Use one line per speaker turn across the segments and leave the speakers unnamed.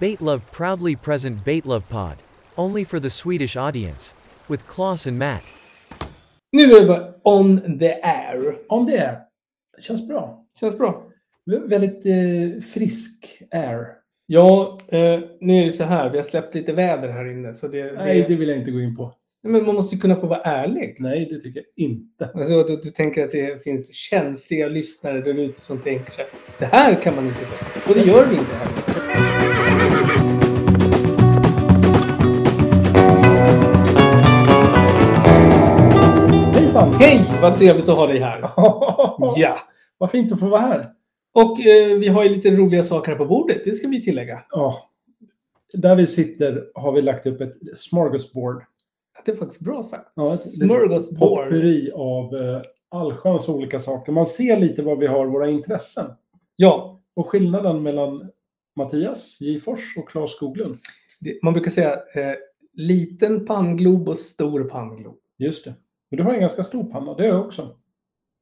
Baitlove proudly present Baitlove Pod, only for the Swedish audience, with Klaus and Matt.
Nu är vi bara on the air.
On the air. Känns bra.
Känns bra.
V- Väldigt eh, frisk air.
Ja, eh, nu är det så här. Vi har släppt lite väder här inne. Så det, det,
Nej, det vill jag inte gå in på.
Nej, Men man måste ju kunna få vara ärlig.
Nej, det tycker jag inte.
Alltså, att du, du tänker att det finns känsliga lyssnare där ute som tänker så här. Det här kan man inte ta. Och det gör vi inte heller.
Hejsan!
Hej! Vad trevligt att ha dig här. Ja.
Vad fint att få vara här.
Och eh, vi har ju lite roliga saker här på bordet. Det ska vi tillägga.
Ja. Där vi sitter har vi lagt upp ett smorgasbord.
Det är faktiskt bra sagt.
Ja, ett litet
Smörgåsbord.
Potpurri av eh, allsköns olika saker. Man ser lite vad vi har, våra intressen.
Ja.
Och skillnaden mellan Mattias Gifors och Claes Skoglund.
Det, man brukar säga eh, liten pannglob och stor pannglob.
Just det. Men du har en ganska stor panna, det har jag också.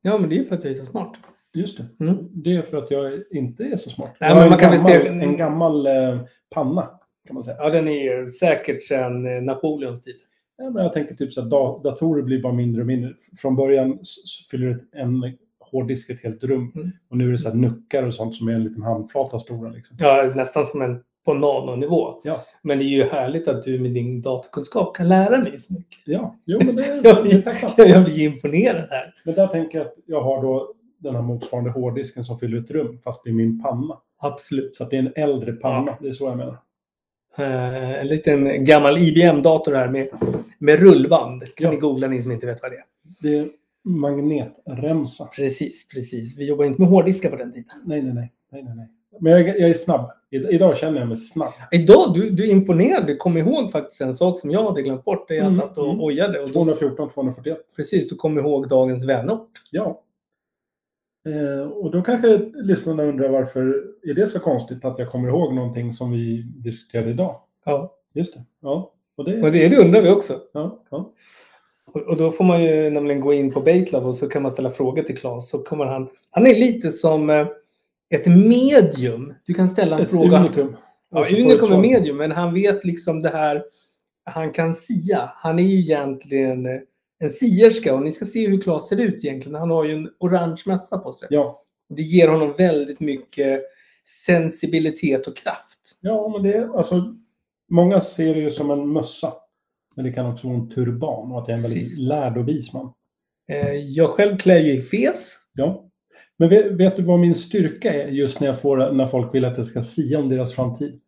Ja, men det är för att jag är så smart.
Just det.
Mm.
Det är för att jag inte är så smart.
Nej,
jag
men
har en
man kan väl
gammal,
se-
en gammal eh, panna, kan man säga.
Ja, den är säkert sedan eh, Napoleons tid.
Ja, men jag tänker typ så att da- datorer blir bara mindre och mindre. F- Från början s- s- fyller ett, en hårddisk ett helt rum.
Mm.
Och nu är det så här nuckar och sånt som är en liten handflata stora. Liksom.
Ja, nästan som en på nanonivå.
Ja.
Men det är ju härligt att du med din datakunskap kan lära mig så mycket.
Ja, jo, men det, det
Jag
är
blir,
tacksamt.
jag blir imponerad här.
Men där tänker jag att jag har då den här motsvarande hårddisken som fyller ett rum, fast i min panna.
Absolut.
Så att det är en äldre panna,
Ja.
det är så jag menar.
Eh, en liten gammal IBM-dator här med, med rullband. Kan
Ja.
ni googla ni som inte vet vad det är.
Det är magnetremsa.
Precis, precis. Vi jobbar inte med hårddiskar på den tiden.
Nej, nej, nej. nej, nej, nej. Men jag, är- jag är snabb. I, idag känner jag mig snabb.
Idag, du, du är imponerad. Du kom ihåg faktiskt en sak som jag hade glömt bort. Där jag
Mm,
satt och
mm.
ojade. Och då,
214, 241.
precis, du kom ihåg dagens vänort.
Ja. Eh, och då kanske lyssnarna undrar varför är det så konstigt att jag kommer ihåg någonting som vi diskuterade idag?
Ja.
Just det. Ja. Och det,
Och det, det undrar vi också.
ja, ja.
Och- Och då får man ju nämligen gå in på Baitlove och så kan man ställa frågor till Claes. Så kommer han, han är lite som eh, ett medium. Du kan ställa en
Ett
fråga.
unikum. Alltså,
Ja,
Och så får du ett
unikum är
svar.
medium, men han vet liksom det här. Han kan sia. Han är ju egentligen eh, en sierska och ni ska se hur Claes ser ut egentligen. Han har ju en orange mössa på sig.
Ja.
Och det ger honom väldigt mycket sensibilitet och kraft.
ja, men det är alltså... Många ser det ju som en mössa. Men det kan också vara en turban och att jag är en väldigt
Precis.
lärd och vis man.
Eh, Jag själv klär ju i fes.
Ja. Men vet, vet du vad min styrka är just när, jag får, när folk vill att jag ska sia om deras framtid?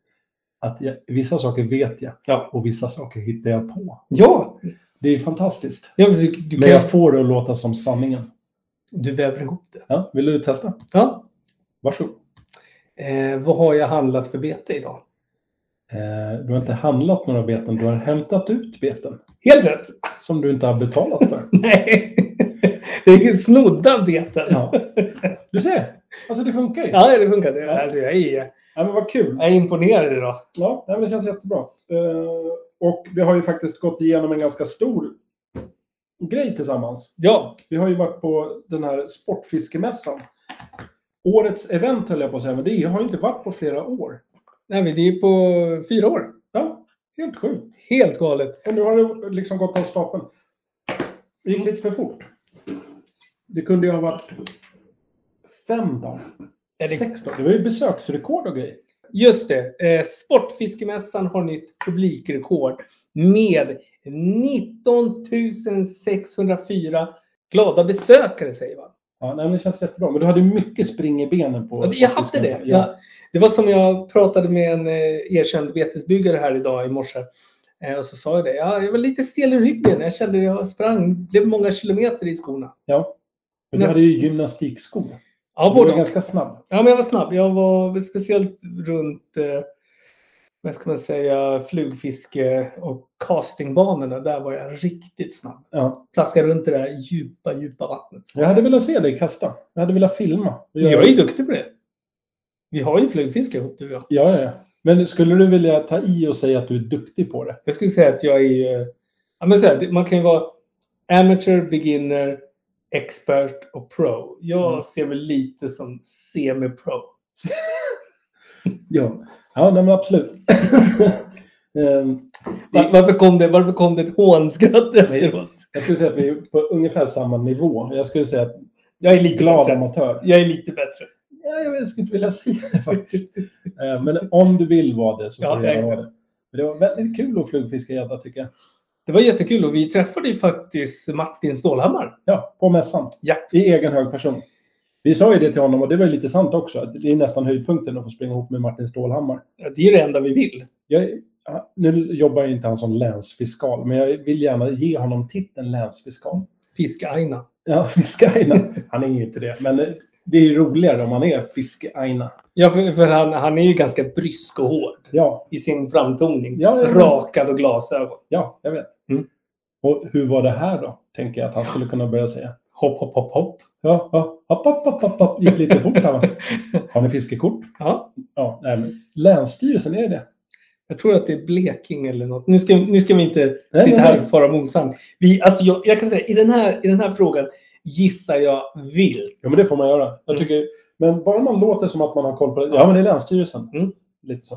Att jag, vissa saker vet jag
Ja.
och vissa saker hittar jag på.
Ja,
Det är fantastiskt.
ja du, du,
Men
kan,
jag får det att låta som sanningen.
du väver ihop det.
Ja, vill du testa?
Ja.
Varsågod.
Eh, vad har jag handlat för bete idag?
Eh, du har inte handlat några beten, du har hämtat ut beten.
Helt rätt!
Som du inte har betalat för.
Nej! Det är snodda beten. Ja,
Ja. Du ser, alltså det funkar ju.
det funkar. Det- Alltså, jag, är,
Ja, men vad kul.
jag är imponerad idag.
Ja, nej, men det känns jättebra. Eh, och vi har ju faktiskt gått igenom en ganska stor grej tillsammans.
Ja,
Vi har ju varit på den här sportfiskemässan. Årets event höll jag på att säga, men det har ju inte varit på flera år.
nej, men det är på fyra år.
Ja, helt sjukt.
Helt galet.
Och nu har det liksom gått av stapeln. Det gick lite för fort. Det kunde ju ha varit fem dagar.
Är det-
Sex dagar. Det var ju besöksrekord och grejer.
Just det. Eh, Sportfiskemässan har nytt publikrekord med 19 604 glada besökare, säger man.
Ja, nej, men det känns jättebra. Men du hade mycket spring i benen på...
Ja, det- Jag hade det.
Ja.
Jag, det var som jag pratade med en eh, erkänd betesbyggare här idag i morse. Eh, Och så sa jag det. Ja, jag var lite stel i ryggen. Jag kände att jag sprang. blev många kilometer i skorna.
ja. Men du
Näst-
hade ju gymnastikskor.
Ja,
du var
både
ju
och.
ganska snabb.
ja, men jag var snabb. Jag var speciellt runt eh, vad ska man säga, flugfiske och castingbanorna. Där var jag riktigt snabb.
Ja.
Plaskade runt i det där djupa, djupa vattnet.
Jag hade velat se dig kasta. Jag hade velat filma.
Jag är ju duktig på det. Vi har ju flugfiske ihop, du och jag.
Ja, ja, ja. Men skulle du vilja ta i och säga att du är duktig på det?
Jag skulle säga att jag är ju... Ja, men så här, det- man kan ju vara amateur, beginner, expert och pro. Jag
Mm.
ser mig lite som semi-pro.
Ja. Ja, nej, men absolut. Ehm,
Var, varför, kom det, varför kom det ett hånskratt efteråt?
jag skulle säga att vi är på ungefär samma nivå. Jag skulle säga att
Jag är lite
glad
bättre.
amatör.
Jag är lite bättre.
Ja, jag skulle inte vilja säga det faktiskt. Eh, Men om du vill vara det så får
Ja,
du gärna
jag-
vara det. Men det var väldigt kul att flugfiska gädda tycker jag.
Det var jättekul och vi träffade ju faktiskt Martin Stålhammar.
Ja, på mässan.
Ja.
I egen hög person. Vi sa ju det till honom och det var ju lite sant också. Att det är nästan höjdpunkten att få springa ihop med Martin Stålhammar.
Ja, Det är det enda vi vill.
Jag, nu jobbar ju inte han som länsfiskal, men jag vill gärna ge honom titeln länsfiskal.
Fisk-Aina.
Ja, fiskeaina. Han är ju inte det, men eh, det är ju roligare om han är fiskeaina.
Ja, för, för han, han är ju ganska brysk och hård
Ja,
i sin framtoning.
Ja, ja, ja.
Rakad och glasögon.
ja, jag vet.
Mm.
Och hur var det här då? Tänker jag att han skulle kunna börja säga.
Hopp, hopp, hopp, hopp.
Ja, ja. Hopp, hopp, hopp, hopp, hopp. Gick lite fort här va? Har ni fiskekort?
Ja,
Ja, nej, men Länsstyrelsen, är det det?
jag tror att det är Blekinge eller något. Nu ska, nu ska vi inte
nej,
sitta här
nej.
och fara med osanning. Vi, alltså jag, jag kan säga, i den, här, i den här frågan gissar jag vilt.
Ja, men det får man göra. Jag
Mm.
tycker, men bara man låter som att man har koll på det. Ja, men det är Länsstyrelsen.
Mm.
Lite så.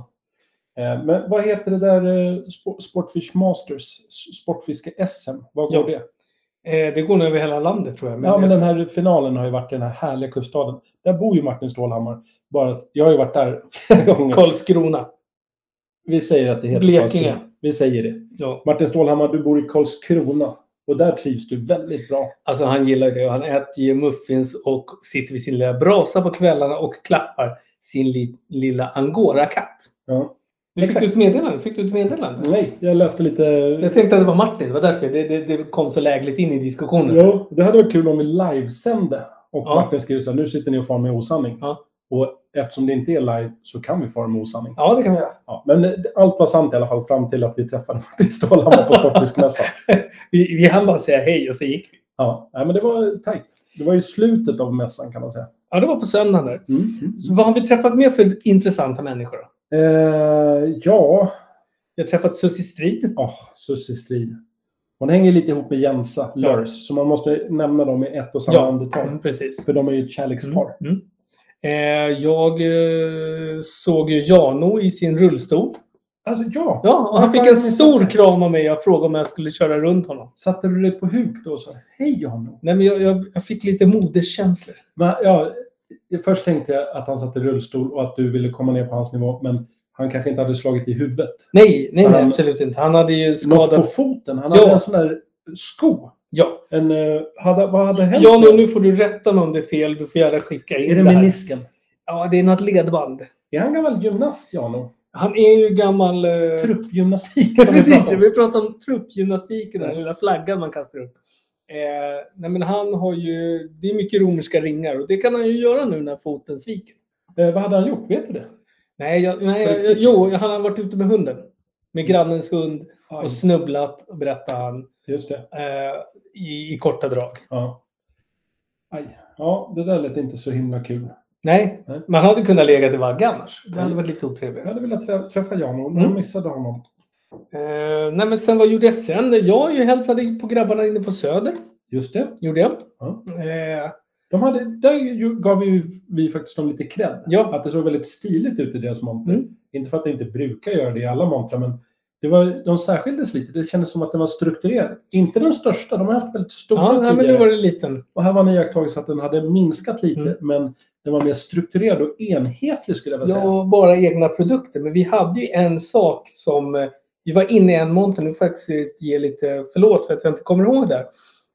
Eh, Men vad heter det där eh, Spo- Sportfish Masters, S- Sportfiske-SM? Vad går
Ja.
det?
Eh, det går nog över hela landet tror jag.
Ja, men den här finalen har ju varit i den här härliga kuststaden. Där bor ju Martin Stålhammar. Bara att jag har ju varit där flera gånger.
Karlskrona.
Vi säger att det heter
Blekinge.
Karlskrona. Vi säger det.
Ja.
Martin Stålhammar, du bor i Karlskrona. Och där trivs du väldigt bra.
Alltså han gillar ju det och han äter ju muffins och sitter vid sin lilla brasa på kvällarna och klappar sin li- lilla angorakatt.
Ja.
Nu fick
Exakt.
du ett meddelande. Fick du ett meddelande?
Nej, jag läste lite...
Jag tänkte att det var Martin. Det var därför det, det, det kom så lägligt in i diskussionen.
Jo, det hade varit kul om vi livesände. Och
Ja.
Martin skriver så här, nu sitter ni och far med osanning.
Ja.
Och eftersom det inte är live så kan vi fara med osanning.
Ja, det kan vi göra.
Ja, men eh, allt var sant i alla fall fram till att vi träffade Martin Stålhammar på Sportfiskmässan.
Vi, vi hann bara säga hej och så gick vi.
Ja, nej, men det var tajt. Det var ju slutet av mässan kan man säga. Mm.
Ja, det var på söndagen där. Så vad har vi träffat mer för intressanta människor? då?
Eh, ja,
Jag har träffat Susie Strid.
oh, Susie Strid. Hon hänger lite ihop med Jensa Lörs, så man måste nämna dem i ett och samma
Ja.
andetag.
Mm, precis.
För de är ju ett kärlekspar.
Mm. Eh, jag eh, såg ju Jano i sin rullstol.
Alltså ja.
Ja, och han
Varför
fick
har
en
ni
stor
sett det?
kram av mig. Jag frågade om jag skulle köra runt honom.
Satte du dig på huk då och sa hej Jan?
Nej, men jag, jag, jag fick lite moderskänslor.
Men, ja, först tänkte jag att han satt i rullstol och att du ville komma ner på hans nivå, men han kanske inte hade slagit i huvudet.
Nej, nej,
Han-
nej absolut inte. Han hade ju
Något på
skadat...
foten. Han
Ja.
hade en sån där sko.
Ja.
En, eh, hade, vad hade hänt?
Jano, nu får du rätta mig om det är fel. Du får gärna skicka in
Är det
det här.
menisken?
Ja, det är något ledband.
Är han gammal gymnast, Jano?
Han är ju gammal... eh,
Truppgymnastik.
Ja,
som vi
Precis,
pratar om.
vi pratar om truppgymnastiken, den
Ja.
lilla flaggan man kastar upp. Eh, nej men han har ju, det är mycket romerska ringar och det kan han ju göra nu när foten sviker.
Eh, vad hade han gjort? Vet du det?
Nej, jag, nej jag, jag, jo, han har varit ute med hunden. Med grannens hund
Aj,
och snubblat, berättar han,
just det.
eh, i, i korta drag.
Ja. Aj. Ja, det där lät inte så himla kul.
Nej,
Nej.
man hade kunnat lägga till vagg annars. Det hade varit lite
Jag
otrevligare.
hade velat trä- träffa Jano, men
Mm.
jag missade honom.
Eh, nej men sen vad gjorde jag sen? Jag ju hälsade på grabbarna inne på Söder.
Just det.
Gjorde jag.
Ja.
Eh,
De hade, där ju- gav ju vi faktiskt dem lite cred.
Ja.
Att det såg väldigt stiligt ut i deras monter.
Mm.
Inte för att det inte brukar göra det i alla montrar, men det var, de särskildes lite. Det kändes som att den var strukturerad. Inte den största, de har haft väldigt stora
ja, nej,
tidigare.
men nu var det liten.
Och här var en iakttagelse att den hade minskat lite,
Mm.
men den var mer strukturerad och enhetlig skulle jag vilja säga.
Ja, bara egna produkter. Men vi hade ju en sak som... eh, Vi var inne i en monter, nu får jag faktiskt ge lite förlåt för att jag inte kommer ihåg det. här.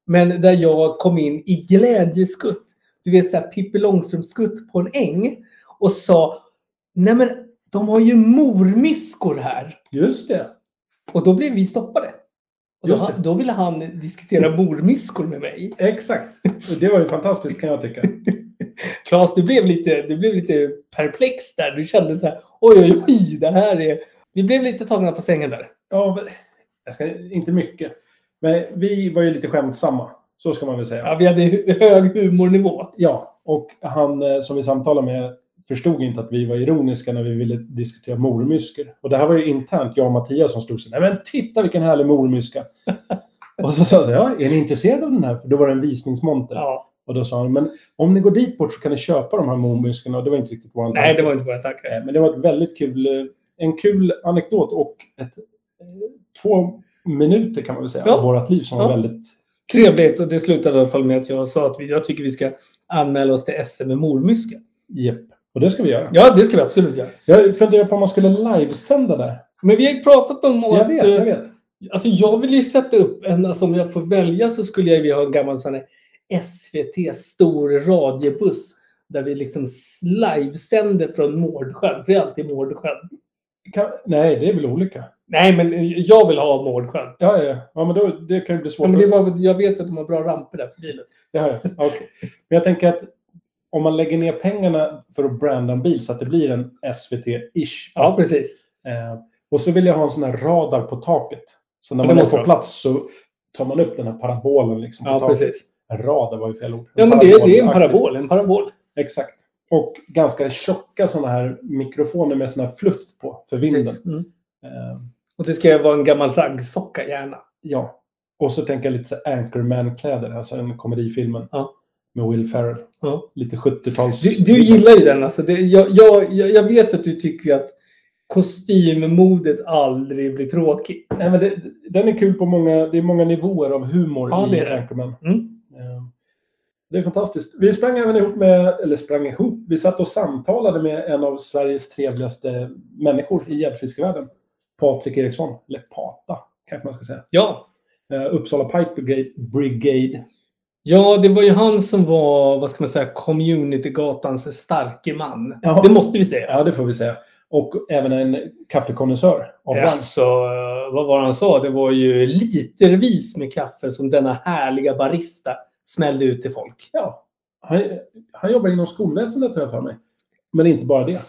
Men där jag kom in i glädjeskutt. Du vet så här Pippi Långstrump-skutt på en äng. Och sa Nej men de har ju mormyskor här.
Just det.
Och då blev vi stoppade. Och då,
Just det.
då ville han diskutera mormyskor med mig.
Exakt. Och det var ju fantastiskt kan jag tycka.
Claes, du blev lite, du blev lite perplex där. Du kände så här, oj, oj, oj, det här är... Vi blev lite tagna på sängen där.
Ja, men- jag ska, inte mycket. Men vi var ju lite skämtsamma. Så ska man väl säga.
Ja, vi hade hu- hög humornivå.
Ja, och han eh, som vi samtalade med förstod inte att vi var ironiska när vi ville diskutera mormyskor. Och det här var ju internt jag och Mattias som stod så nej men titta vilken härlig mormyska. och så sa jag, ja, är ni intresserade av den här? För då var det en visningsmonter.
Ja.
Och då sa han, men om ni går dit bort så kan ni köpa de här mormyskorna. Och det var inte riktigt vår
Nej,
tanke.
det var inte våra tankar.
Eh, Men det var ett väldigt kul eh, en kul anekdot och ett, eh, två minuter kan man väl säga
Ja.
av vårt liv som
Ja.
var väldigt...
Trevligt och det slutade i alla fall med att jag sa att vi, jag tycker vi ska anmäla oss till SM med mormyska.
Japp. Och det ska vi göra.
Ja, det ska vi absolut göra.
Jag funderar på om man skulle livesända det.
Men vi har ju pratat om
Jag
att...
vet,
eh,
jag vet.
Alltså jag vill ju sätta upp en, alltså om jag får välja så skulle jag vilja ha en gammal sån här SVT stor radiobuss där vi liksom livesänder från Mårdsjön, för det är alltid Mårdsjön.
Kan, nej, det är väl olika.
Nej, men eh, jag vill ha Mårdsjön.
Ja, ja, ja. ja men då, det kan ju bli
Ja,
svårt.
men
att-
det var, jag vet att de har bra ramper där för bilen.
Ja, ja. okej. Men jag tänker att om man lägger ner pengarna för att branda en bil så att det blir en SVT-ish.
Ja, precis.
Eh, och så vill jag ha en sån här radar på taket. Så när
Ja, det
man är
måste
på
man.
plats så tar man upp den här parabolen liksom på
Ja,
taket.
precis.
En radar var ju fel ord.
Ja,
En
men det, det är en
parabolaktig.
parabol. En parabol.
Exakt. Och ganska tjocka såna här mikrofoner med sån här fluff på för vinden.
Precis. Mm.
Eh,
Och det ska vara en gammal raggsocka gärna.
ja. Och så tänker jag lite så här Anchorman-kläder, alltså den komedifilmen
Ja.
med Will Ferrell.
Ja.
Lite 70-tals...
Du, du gillar ju den alltså. Det, jag, jag, jag jag vet att du tycker ju att kostymmodet aldrig blir tråkigt.
Nej, men det, den är kul på många, det är många nivåer av humor
Ja,
i
det är det.
Anchorman.
Mm.
Eh, Det är fantastiskt. Vi sprang även ihop med, eller sprang ihop, vi satt och samtalade med en av Sveriges trevligaste människor i gäddfiskevärlden. Patrik Eriksson, eller Pata kanske man ska säga.
Ja.
Eh, Uppsala Pike Brigade, Brigade.
ja, det var ju han som var, vad ska man säga, communitygatans starke man.
Ja.
Det måste vi säga.
Ja, det får vi säga. Och även en kaffekonnässör av rang.
Alltså, vad var det han sa? Det var ju litervis med kaffe som denna härliga barista smällde ut till folk.
Ja. Han, han jobbar inom skolväsendet har jag för mig. Men inte bara det.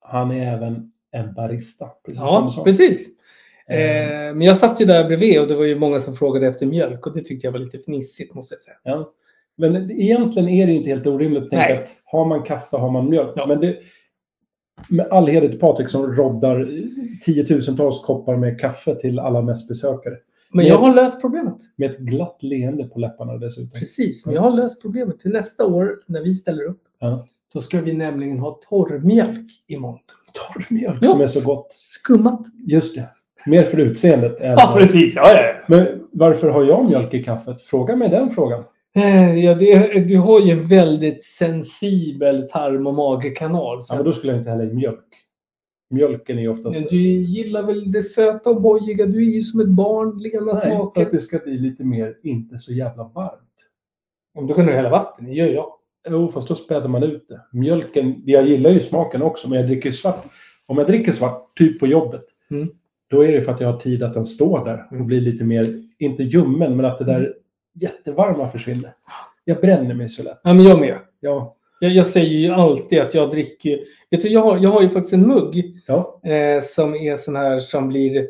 Han är även en barista. Precis som du
Ja,
sa.
precis.
Eh,
Eh, men jag satt ju där bredvid och det var ju många som frågade efter mjölk och det tyckte jag var lite fnissigt måste jag säga.
Ja. Men egentligen är det inte helt orimligt att tänka
Nej.
att har man kaffe har man mjölk. Men det, med all heder till Patrik som roddar tiotusentals koppar med kaffe till alla mässbesökare.
Men jag har löst problemet.
Med ett glatt leende på läpparna dessutom.
Precis, men jag har löst problemet. Till nästa år när vi ställer upp,
Ja.
då ska vi nämligen ha torrmjölk i monten.
Torrmjölk
Ja.
som är så gott.
Skummat.
Just det. Mer för utseendet. Än
precis. Ja, ja, ja.
Men varför har jag mjölk i kaffet? Fråga mig den frågan.
Eh, Ja, det, du har ju en väldigt sensibel tarm och magekanal. Så
Ja, men då skulle jag inte hälla i mjölk. Mjölken är ju oftast...
men du gillar väl det söta och bojiga? Du är ju som ett barn, lena
Nej, för att
smaken.
det ska bli lite mer inte så jävla varmt.
Om du kunde hälla vatten i, gör jag.
Jo, fast då späder man ut det. Mjölken, jag gillar ju smaken också, men jag dricker svart. Om jag dricker svart, typ på jobbet,
Mm.
då är det för att jag har tid att den står där och
Mm.
blir lite mer, inte ljummen, men att det där jättevarma försvinner. Jag bränner mig så lätt.
Ja, men jag med.
Ja,
Jag, jag säger ju alltid att jag dricker... ju- Vet du, jag har, jag har ju faktiskt en mugg
ja,
eh, som är sån här som blir...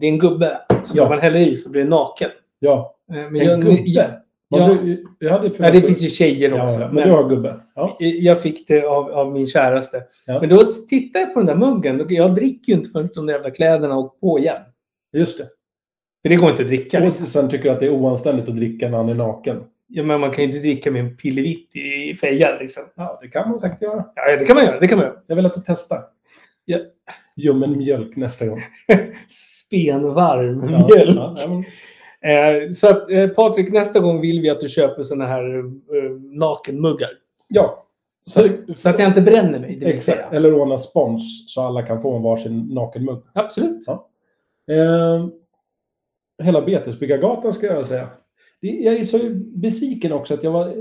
Det är en gubbe. Så
Ja.
när man häller i så blir det naken.
ja.
Eh, men
En
jag,
gubbe.
Ja,
Man
ja.
blir- jag hade
ja, det finns ju tjejer också.
Ja, ja, men,
men- eh,
du har gubbe. Ja.
Jag fick det av, av min käraste.
Ja.
Men då tittar jag på den där muggen. och Jag dricker ju inte förrän de där jävla kläderna har åkt på igen.
Just det.
För det går inte att dricka. liksom.
Och sen tycker jag att det är oanständigt att dricka när han är naken.
Ja, men man kan ju inte dricka med en pillevitt i fejan liksom.
Ja, det kan man säkert göra.
Ja, det kan man göra. Det kan man göra.
Jag vill att du testar.
Ja.
Ljummen mjölk nästa gång.
Spenvarm
Ja,
mjölk.
ja, ja, men-
Eh, så att eh, Patrik, nästa gång vill vi att du köper såna här eh, nakenmuggar.
ja.
Så, så att jag inte bränner mig. Det vill
Exakt.
säga.
Eller ordna spons så alla kan få en varsin nakenmugg.
Absolut.
Eh, hela Betesbyggargatan ska jag säga. Det, jag är så besviken också att jag var... eh,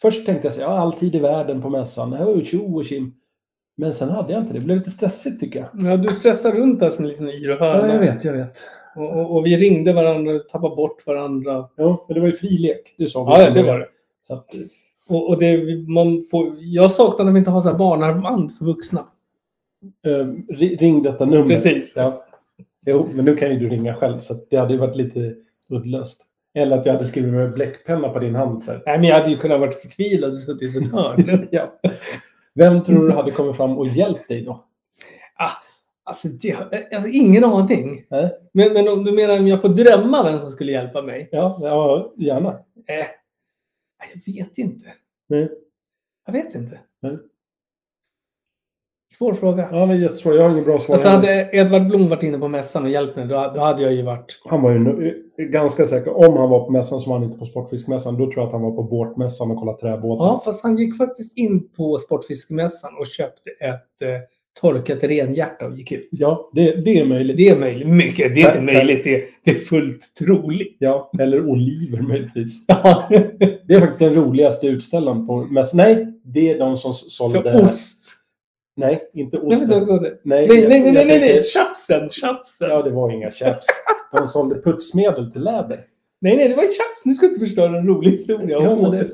Först tänkte jag säga ja, all tid i världen på mässan. Det var ju Tjo och tjim. Men sen hade jag inte det. Det blev lite stressigt tycker jag.
Ja, du stressar runt där som en liten yr och
Ja, jag
hörna.
vet, jag vet.
och, och, och vi ringde varandra, tappade bort varandra.
Ja, men det var ju frilek. Det sa vi.
Ja, ja,
från
det
början.
var det.
Så att, eh,
Och, och det, man får, jag saknar att de inte har så här barnarmband för vuxna.
ehm, ri- ring detta nummer.
Precis.
Ja. Jo, men nu kan ju du ringa själv. Så att det hade ju varit lite uddlöst. Eller att jag hade skrivit med bläckpenna på din hand. Så här.
Nej, men jag hade ju kunnat varit förtvivlad och suttit i ett hörn.
Ja. Vem tror du hade kommit fram och hjälpt dig då?
alltså, det, jag har ingen aning.
Nej.
Men, men om du menar om jag får drömma vem som skulle hjälpa mig?
Ja, ja gärna.
Eh, jag vet inte.
Nej.
Jag vet inte.
Nej.
Svår fråga.
Ja, det är jättesvårt. Jag har ingen bra svar.
Alltså hade Edvard Blom varit inne på mässan och hjälpt mig, då, då hade jag ju varit...
Han var ju nu- eh, ganska säker. Om han var på mässan så var han inte på Sportfiskmässan. Då tror jag att han var på båtmässan och kollade träbåtar.
Ja, fast han gick faktiskt in på Sportfiskemässan och köpte ett eh, torkat renhjärta och gick ut.
Ja, det, det är möjligt.
Det är möjligt. Mycket. Det är inte
Nej,
möjligt. Det är, det är fullt troligt.
Ja, eller oliver möjligtvis.
Ja.
Det är faktiskt den roligaste utställaren på mässan. Nej, det är de som sålde...
Så ost.
Nej, inte
Nej,
osten.
men då går det.
Nej,
nej, nej,
jag-
nej,
jag
nej, nej,
tänker-
nej. Chapsen, chapsen.
Ja, det var inga chaps. De sålde putsmedel till läder.
Nej, nej, det var chaps. Nu ska du inte förstöra en rolig historia.
Ja, men det,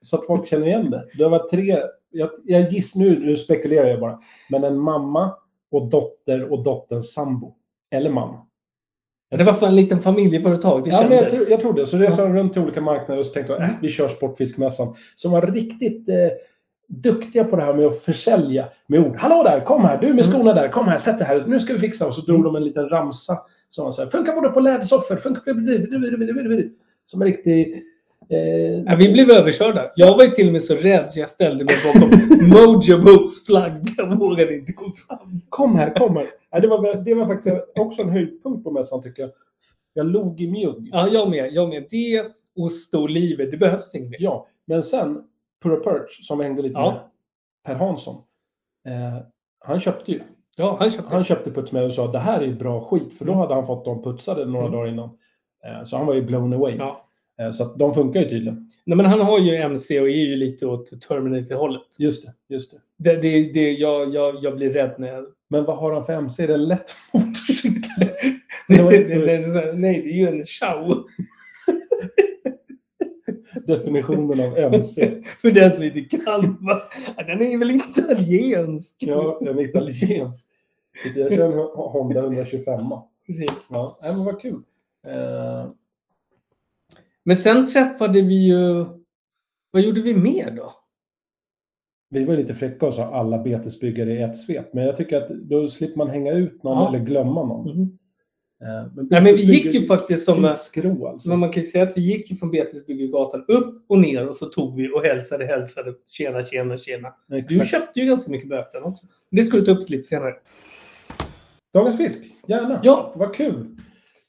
så att folk känner igen det. Det var tre, jag, jag giss nu, nu spekulerar jag bara, men en mamma och dotter och dotterns sambo. Eller mamma.
Det var för en liten familjeföretag. Det
Ja, men
kändes. Mm.
jag, tror, jag tror det. Så reser de runt till olika marknader och så tänker jag, äh, vi kör Sportfiskmässan. Som var riktigt eh, duktiga på det här med att försälja med ord. Hallå där, kom här,
Mm.
du med skorna där, kom här, sätt dig här, nu ska vi fixa. Och så drog de en liten ramsa. Som var så här, funkar både på lädersoffor, funkar på... Som en riktig... Eh,
Ja, vi blev överkörda. Jag var ju till och med så rädd så jag ställde mig bakom Mojo Boats flagga. Jag vågade inte gå fram.
Kom här, kom här. Ja, det, var, det var faktiskt också en höjdpunkt på mässan tycker jag. Jag log i mjugg.
Ja, jag med. Jag med. Det och Storliver, det behövs inget mer.
Ja, men sen Pura Perch som vi hängde lite
Ja.
med, Per Hansson. Eh, han köpte ju.
Ja, han köpte.
Han köpte puts med och sa att det här är bra skit för då hade han fått dem putsade några
Mm.
dagar innan. Eh, så han var ju blown away.
Ja.
Eh, så att de funkar ju tydligen.
Nej, men han har ju MC och är ju lite åt Terminator-hållet.
Just det, just det.
Det, det, det, jag, jag, jag blir rädd när jag...
Men vad har han för MC? Är det en lätt motorcykel?
Det, det, det, det, det, nej, det är ju en show.
Definitionen av MC.
För den som inte kan. Va? Ja, Den är väl italiensk?
Ja, en italiensk. Jag kör en Honda 125.
Precis.
Ja, nej, men vad kul. Eh,
Men sen träffade vi ju... Vad gjorde vi mer då?
vi var ju lite fräcka och sa alla betesbyggare i ett svep. Men jag tycker att då slipper man hänga ut någon
Ja.
eller glömma någon.
Mm.
Eh,
Nej, men vi gick ju faktiskt som...
Skrå, alltså.
Men man kan ju säga att vi gick ju från Betesbyggegatan upp och ner och så tog vi och hälsade, hälsade. Tjena, tjena, tjena. Du
Exakt.
köpte ju ganska mycket böten också. Men Det skulle ta upp sig lite senare.
Dagens fisk, gärna.
Ja.
Vad kul.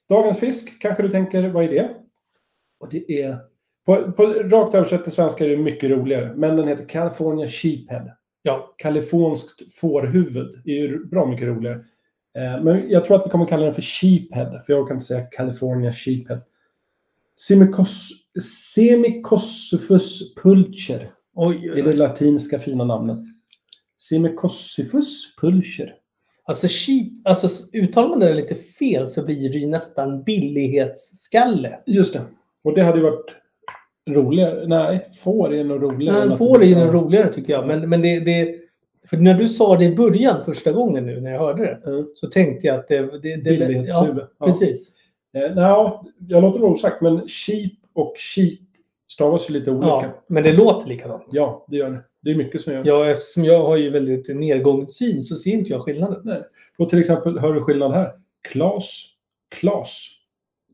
Dagens fisk, kanske du tänker, vad är det? Och det är... På, på, rakt översatt till svenska är det mycket roligare. Men den heter California Sheephead.
Ja.
Kaliforniskt fårhuvud. Det är ju bra mycket roligare. Eh, men jag tror att vi kommer kalla den för Sheephead. För jag kan inte säga California Sheephead. Semicos, semicossyphus pulcher.
Oj,
Det är det latinska fina namnet. Semicossyphus pulcher.
Alltså, sheep, alltså uttalar man det lite fel så blir det ju nästan billighetsskalle.
Just det. Och det hade ju varit roligare. Nej, får är nog roligare. än
Men
att-
får är ju nog roligare tycker jag. Men, men det, det, för när du sa det i början första gången nu när jag hörde det
Mm.
så tänkte jag att det... det, det ja,
Billighetshuvud. Ja.
precis.
Eh, nja, jag låter det vara osagt, men sheep och sheep stavas ju lite olika.
Ja,
Ja,
men det låter likadant.
det gör det. Det är mycket som gör det.
Ja, eftersom jag har ju väldigt nedgångssyn så ser inte jag skillnaden.
Och till exempel, hör du skillnad här? Klas, Klas.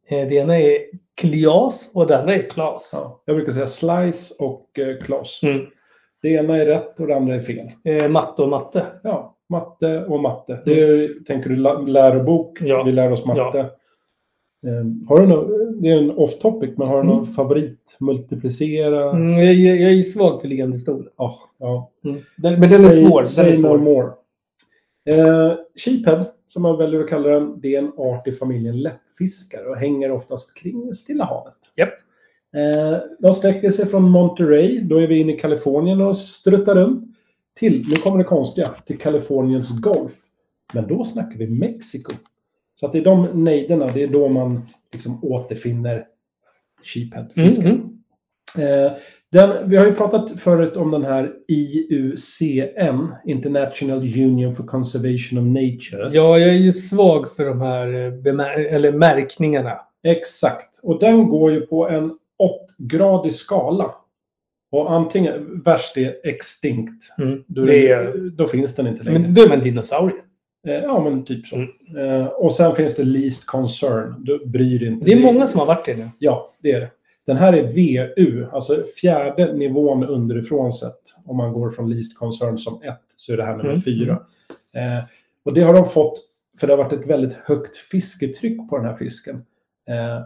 Eh, Det ena är Klias och det andra är Klas.
Ja. Jag brukar säga slice och eh, Klas.
Mm.
Det ena är rätt och det andra är fel.
Eh, Matte och matte.
Ja, matte och matte. Det är, Tänker du la- lärobok?
Mm. Ja.
Vi lär oss matte. Eh, Har du någon, det är en off topic, men har du någon
Mm.
favorit? Multiplicera?
Mm, jag, jag jag är ju svag för liggande stolen.
Ah, ja.
Den, men den är
Say-
svår. Den
Say
är svår.
no more. Eh, sheephead, som man väljer att kalla den, det är en art i familjen läppfiskar och hänger oftast kring Stilla havet.
Japp.
Eh, de sträcker sig från Monterey, då är vi inne i Kalifornien och struttar runt, till, nu kommer det konstiga, till Kaliforniens Golf. Men då snackar vi Mexiko. Så att det är de nejderna, det är då man liksom återfinner sheephead-fisken.
Mm, mm.
Eh, den, vi har ju pratat förut om den här IUCN, International Union for Conservation of Nature.
Ja, jag är ju svag för de här eh, bemär- eller märkningarna.
Exakt. Och den går ju på en 8-gradig skala. Och antingen, värst är extinct. Då, är
Mm. Det är,
den- då finns den inte längre.
men Mm. då är man dinosaurie.
Eh, ja, men typ så. Eh, och sen finns det least concern. Du bryr dig inte.
Det är många som har varit det nu.
Ja, det är det. Den här är VU, alltså fjärde nivån underifrån sett. Om man går från least concern som ett så är det här nummer
Mm.
fyra. Eh, och det har de fått för det har varit ett väldigt högt fisketryck på den här fisken. Eh,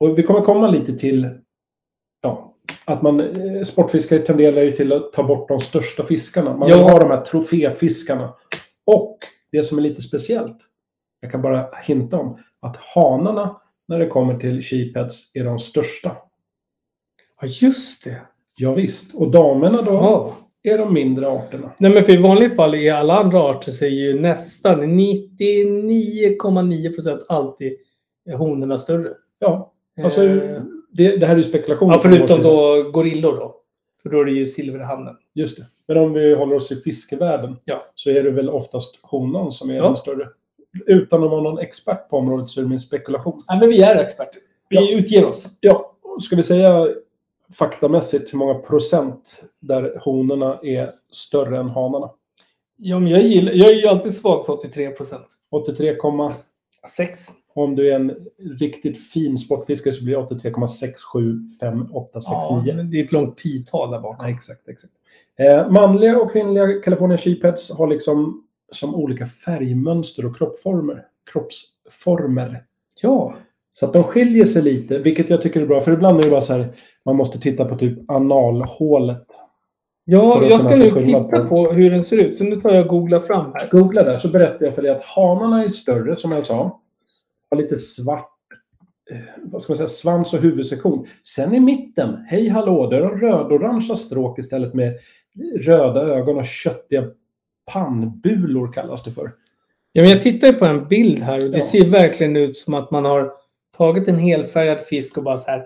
och vi kommer komma lite till ja, att man, eh, sportfiskare tenderar ju till att ta bort de största fiskarna. Man
Ja.
vill ha de här troféfiskarna. Och det som är lite speciellt, jag kan bara hinta om, att hanarna när det kommer till sheepheads är de största.
Ja, just det.
Ja, visst. Och damerna då
Ja.
är de mindre arterna.
Nej, men för i vanliga fall i alla andra arter så är ju nästan 99,9% alltid honorna större.
Ja, alltså
Eh,
det, det här är ju spekulation.
ja,
från vår
förutom
sida.
då gorillor då. För då är det ju silverhannen.
Just det. Men om vi håller oss i fiskevärlden
Ja.
så är det väl oftast honan som är
Ja.
den större. Utan att vara någon expert på området så är det min spekulation.
Nej, men vi är experter. Vi
Ja.
utger oss.
Ja, ska vi säga faktamässigt hur många procent där honorna är större än hanarna?
Ja, men jag, gillar, jag är ju alltid svag för 83%.
83,
Sex.
om du är en riktigt fin sportfiskare så blir det 83,67586,9.
Ja, men det är ett långt pi-tal där
Ja,
bakom.
exakt, exakt. Eh, manliga och kvinnliga California sheepheads har liksom som olika färgmönster och kroppsformer. kroppsformer.
Ja.
Så att de skiljer sig lite, vilket jag tycker är bra. För ibland är det bara så här, man måste titta på typ analhålet. För
Ja,
att
jag
kunna
ska
se
nu
skillnad
titta
på-
på hur den ser ut. Nu tar jag och googlar fram här.
Googla där så berättar jag för dig att hanarna är större, som jag sa. Har lite svart eh, vad ska man säga, svans och huvudsektion. Sen i mitten, hej hallå, där är de rödorangea stråk istället med röda ögon och köttiga pannbulor kallas det för.
Ja, men jag tittar ju på en bild här och det
Ja.
ser verkligen ut som att man har tagit en helfärgad fisk och bara så här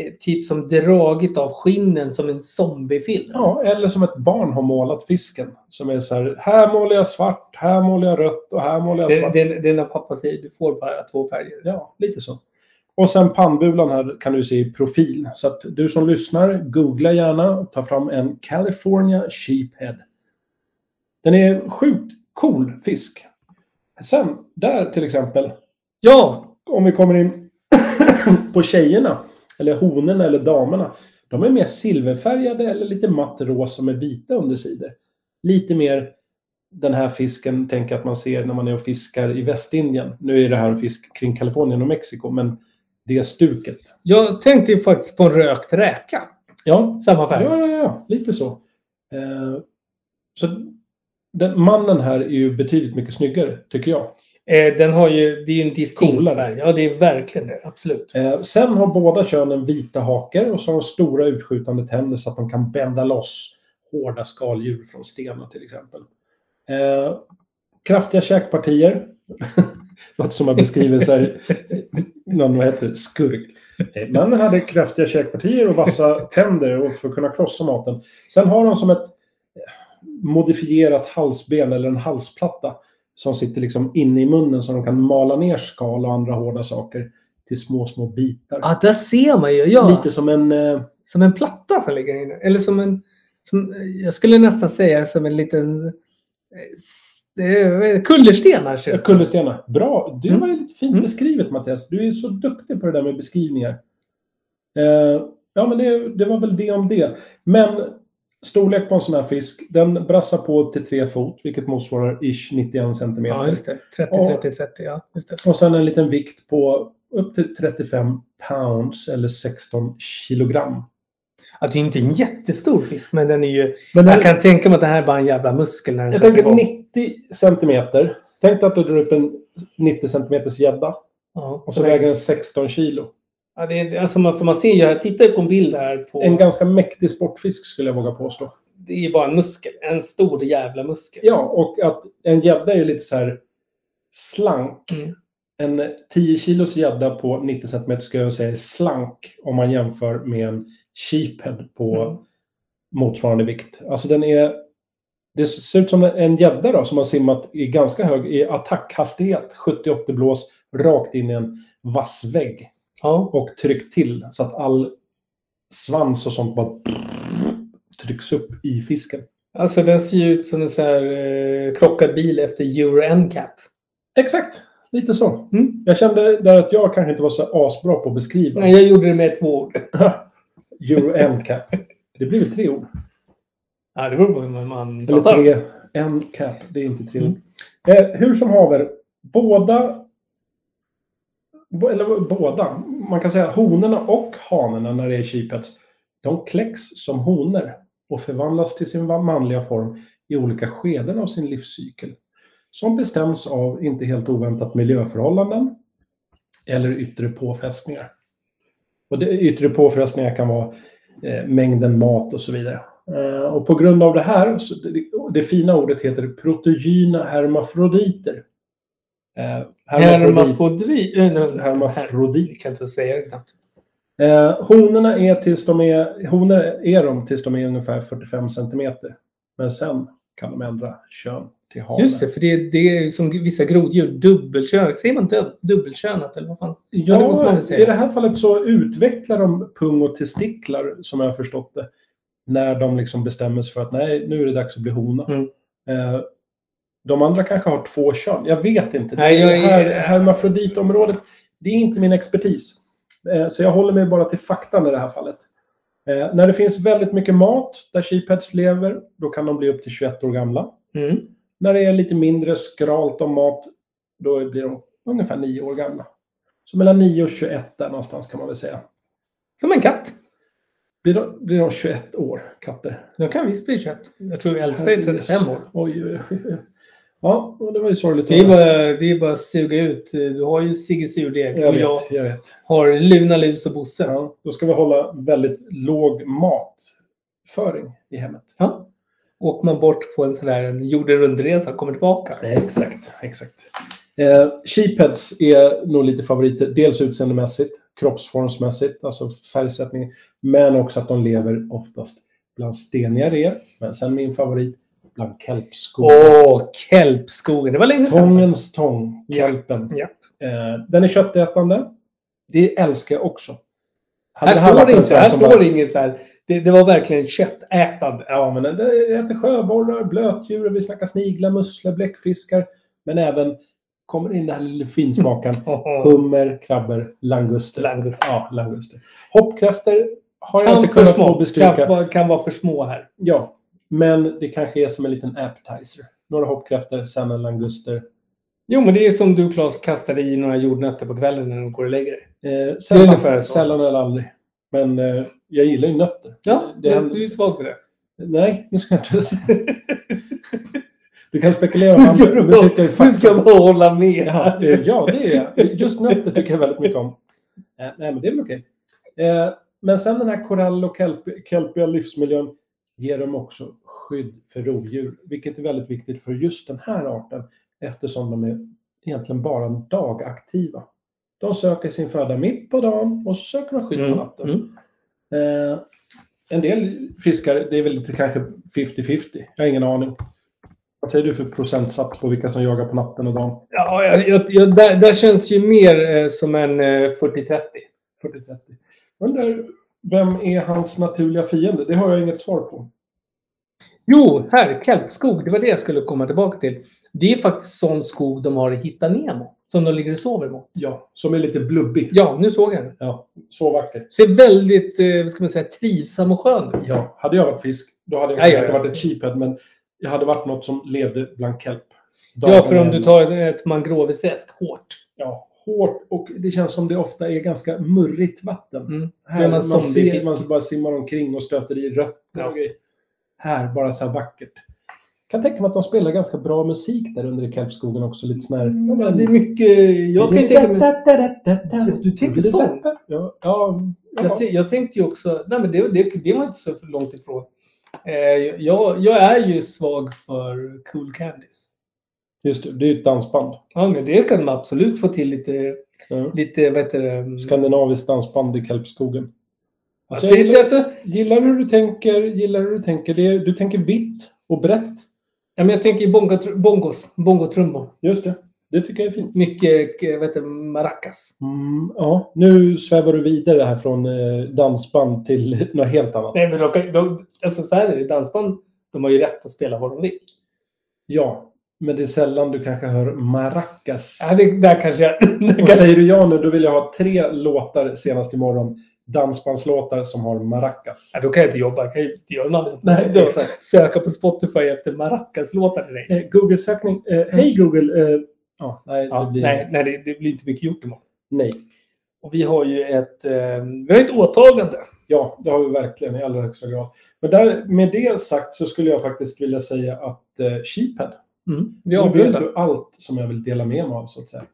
eh, typ som dragit av skinnen som en zombiefilm.
Ja, eller som ett barn har målat fisken. Som är så här, här målar jag svart, här målar jag rött och här målar jag
det,
svart.
det, det är när pappa säger du får bara två färger.
Ja, lite så. Och sen pannbulan här kan du se i profil. Så att du som lyssnar, googla gärna och ta fram en California Sheephead. Den är en sjukt cool fisk. Sen, där till exempel,
Ja!
om vi kommer in på tjejerna, eller honorna eller damerna. De är mer silverfärgade eller lite matt rosa med vita undersidor. Lite mer den här fisken tänker jag att man ser när man är och fiskar i Västindien. Nu är det här en fisk kring Kalifornien och Mexiko, men det stuket.
Jag tänkte ju faktiskt på en rökt räka.
Ja,
Samma färg.
ja, ja, ja lite så. Eh, så den, mannen här är ju betydligt mycket snyggare, tycker jag.
Eh, den har ju, det är ju en distinkt
Coolare.
färg. Ja, det är verkligen det. Absolut.
Eh, sen har båda könen vita haker och så har de stora utskjutande tänder så att de kan bända loss hårda skaldjur från stenar till exempel. Eh, kraftiga käkpartier. Låter som man beskriver så här, någon, vad heter det, skurk. Eh, Männen hade kraftiga käkpartier och vassa tänder och för att kunna krossa maten. Sen har de som ett eh, modifierat halsben eller en halsplatta som sitter liksom inne i munnen så de kan mala ner skal och andra hårda saker till små, små bitar.
Ja, där ser man ju. Ah, Ja.
Lite som en... Eh,
Som en platta som ligger inne. Eller som en... Som, eh, jag skulle nästan säga det som en liten... eh, s- eh, Kullersten här ser det ut.
kullerstenar. Bra! Du
Mm.
var ju lite fint
Mm.
beskrivet, Mattias. Du är så duktig på det där med beskrivningar. Eh, ja, men det, det var väl det om det. Men storlek på en sån här fisk, den brassar på upp till tre fot, vilket motsvarar ish 91 centimeter.
Ja, just det. 30,
Ja.
30, 30. Ja, just det.
Och sen en liten vikt på upp till 35 pounds eller 16 kilogram.
Ja, det är inte en jättestor fisk, men den är ju...
Men
Jag kan tänka mig att det här är bara en jävla muskel när den
jag
sätter
tänker
igång.
90 centimeter. Tänk dig att du drar upp en 90 centimeters gädda
Ja,
och så väger den 16 kilo.
ja, det är, alltså man, för man ser ju, jag tittar ju på en bild här på...
En ganska mäktig sportfisk skulle jag våga påstå.
det är ju bara en muskel. En stor jävla muskel.
Ja, och att en gädda är ju lite så här slank.
Mm.
En 10 kilos gädda på 90 centimeter skulle jag säga är slank om man jämför med en sheephead på
Mm.
motsvarande vikt. Alltså den är... Det ser ut som en gädda då som har simmat i ganska hög i attackhastighet, 70-80 blås, rakt in i en vass vägg
Ja.
och tryckt till så att all svans och sånt bara trycks upp i fisken.
Alltså den ser ju ut som en så här eh, krockad bil efter Euro NCAP.
Exakt, lite så.
Mm.
Jag kände där att jag kanske inte var så asbra på att beskriva.
Nej, jag gjorde det med två ord.
Euro NCAP. Det blir väl tre ord?
Ja, det beror på hur man
Eller
pratar.
tre, En cap, det är inte till. Eh, hur som haver, båda... bo- Eller båda. Man kan säga honorna och hanarna när det är chipets. De kläcks som honor och förvandlas till sin manliga form i olika skeden av sin livscykel. Som bestäms av, inte helt oväntat, miljöförhållanden eller yttre påfrestningar. Och det, yttre påfrestningar kan vara eh, mängden mat och så vidare. Eh, och på grund av det här, så det, det fina ordet heter protogyna hermafroditer. Eh, hermafrodit-
Hermafrodri... eh, nej, her-
hermafrodit.
Jag kan inte säga det knappt.
Eh, honorna är, tills de är, honor är de tills de är ungefär 45 centimeter. Men sen kan de ändra kön till hanar.
Just det, för det, är- det är ju som vissa groddjur, dubbelkönat. Säger man dub, dubbelkönat eller vad fan?
Ja,
Ja, det måste man väl säga.
i det här fallet så utvecklar de pung och testiklar, som jag har förstått det, när de liksom bestämmer sig för att nej, nu är det dags att bli hona.
Mm.
Eh, de andra kanske har två kön. Jag vet inte.
Nej, jag är-
Det här hermafroditområdet, det är inte min expertis. Eh, så jag håller mig bara till faktan i det här fallet. Eh, när det finns väldigt mycket mat där sheepheads lever, då kan de bli upp till 21 år gamla.
Mm.
När det är lite mindre skralt om mat, då blir de ungefär 9 år gamla. Så mellan 9 och 21 där någonstans kan man väl säga.
Som en katt.
Blir de, blir de 21 år, katter?
De kan visst bli 21. Jag tror äldsta är 35 år.
Oj, oj, oj, oj. Ja, och det var ju sorgligt.
Det är bara, det är bara att suga ut. Du har ju Sigge Surdeg
jag
och jag
vet, jag vet.
har Luna Lus och Bosse.
Ja, då ska vi hålla väldigt låg matföring i hemmet.
Ja. Åker man bort på en sån där en jorden runt-resa och kommer tillbaka.
Exakt. exakt. Eh, sheepheads är nog lite favoriter. Dels utseendemässigt, kroppsformsmässigt, alltså färgsättning. Men också att de lever oftast bland steniga rev. Men sen min favorit, bland kelpskog.
Åh, kelpskogen. Det var länge sedan.
Tångens tång,
Ja.
kelpen.
Ja.
Eh, den är köttätande. Det älskar jag också. Hade
Här
det varit
står det
en
inte.
sån
Här
som
står
bara-
det inget så här. Det, det var verkligen köttätande.
Ja, men det äter sjöborrar, blötdjur, vi snackar sniglar, musslor, bläckfiskar. Men även kommer in den här lilla finsmakaren.
Åh,
Hummer, krabbor, languster.
Languster.
Ja, languster. Hoppkräftor har jag
Kan,
inte
för
kunnat få
små,
bestyrka.
kan, vara- kan vara för små här.
Ja, men det kanske är som en liten appetizer. Några hoppkräftor, sen en languster. Eh,
Jo, men det är som du, Claes, kastade i några jordnötter på kvällen när du går och lägger dig.
Eh, sällan,
ungefär så.
sällan eller aldrig. Men eh, jag gillar ju nötter.
Ja,
Det
men
händer-
du är svag för det.
Nej, nu ska jag inte säga. Du kan spekulera. om andra- nu sitter jag i
Nu ska
fakta.
jag bara hålla med.
Jaha, eh, ja, det är jag. Just nötter tycker jag väldigt mycket om. Eh, Nej, men det är väl okej. Eh, Men sen den här korall och kelp- kelpiga livsmiljön ger dem också skydd för rovdjur, vilket är väldigt viktigt för just den här arten eftersom de är egentligen bara dagaktiva. De söker sin föda mitt på dagen och så söker de skydd på
Mm,
natten.
mm.
Eh, en del fiskar, det är väl lite kanske 50-50. Jag har ingen aning. Vad säger du för procentsats på vilka som jagar på natten och dagen?
Ja, jag, jag, jag, där, där känns ju mer eh, som en eh, 40-30.
40-30. Undrar, vem är hans naturliga fiende? Det har jag inget svar på.
Jo, här, kelpskog. Det var det jag skulle komma tillbaka till. Det är faktiskt sån skog de har i Hitta Nemo. Som de ligger och sover mot.
Ja, som är lite blubbig.
Ja, nu såg jag den.
Ja, så vacker.
Ser väldigt, eh, vad ska man säga, trivsam och skön ut.
Ja, hade jag varit fisk, då hade jag
Nej,
inte
ja, ja.
varit ett sheephead, men jag hade varit något som levde bland kelp.
Ja, för om du tar ett mangroveträsk hårt.
Ja, hårt och det känns som det ofta är ganska murrigt vatten.
Mm.
Här,
Då är man
man, ser,
zombiefisk.
man bara simmar omkring och stöter i rötter
Ja.
och grejer. Här, bara så här vackert. kan tänka mig att de spelar ganska bra musik där under i kelpskogen också. Lite sån här...
Ja, Mm, det är mycket... Jag kan ju tänka mig...
mig...
Du tänker sång.
Ja, ja,
Jag,
ja.
tän- jag tänkte ju också, nej men det, det, det var inte så för långt ifrån. Eh, jag, jag är ju svag för Cool Candies.
Just det, det är ju ett dansband.
Ja, men det kan man absolut få till lite,
Ja.
lite vad heter det? mm,
Skandinaviskt dansband i kelpskogen.
Alltså,
Alltså, jag
det,
gillar,
alltså,
gillar hur du tänker, gillar hur du tänker. Det är, du tänker vitt och brett.
ja, men jag tänker ju bongo, bongos, bongotrummor.
Just det. Det tycker jag är fint.
Mycket eh, vad heter det, maracas.
Mm, ja, nu svävar du vidare här från eh, dansband till något helt annat.
Nej, men de, kan- de, alltså så här är det, dansband, de har ju rätt att spela vad de vill.
Ja, men det är sällan du kanske hör maracas.
Ja, det, där kanske jag... Där
Och
Äh, kan,
säger du ja nu, då vill jag ha tre låtar senast imorgon dansbandslåtar som har maracas.
Ja, då kan jag inte jobba. Jag kan ju inte göra något annat.
Nej,
Då
exakt.
Söka på Spotify efter Maracas-låtar till dig.
Eh, Google-sökning. Eh, hej Google! Eh, ja, nej, det
Ja,
blir...
nej, nej det, det blir inte mycket gjort imorgon.
nej.
Och vi har ju ett, eh, vi har ett åtagande.
Ja, det har vi verkligen i allra högsta grad. Men där, med det sagt så skulle jag faktiskt vilja säga att eh, Sheephead,
Vi
nu vet
avrundar.
du allt som jag vill dela med mig av så att säga.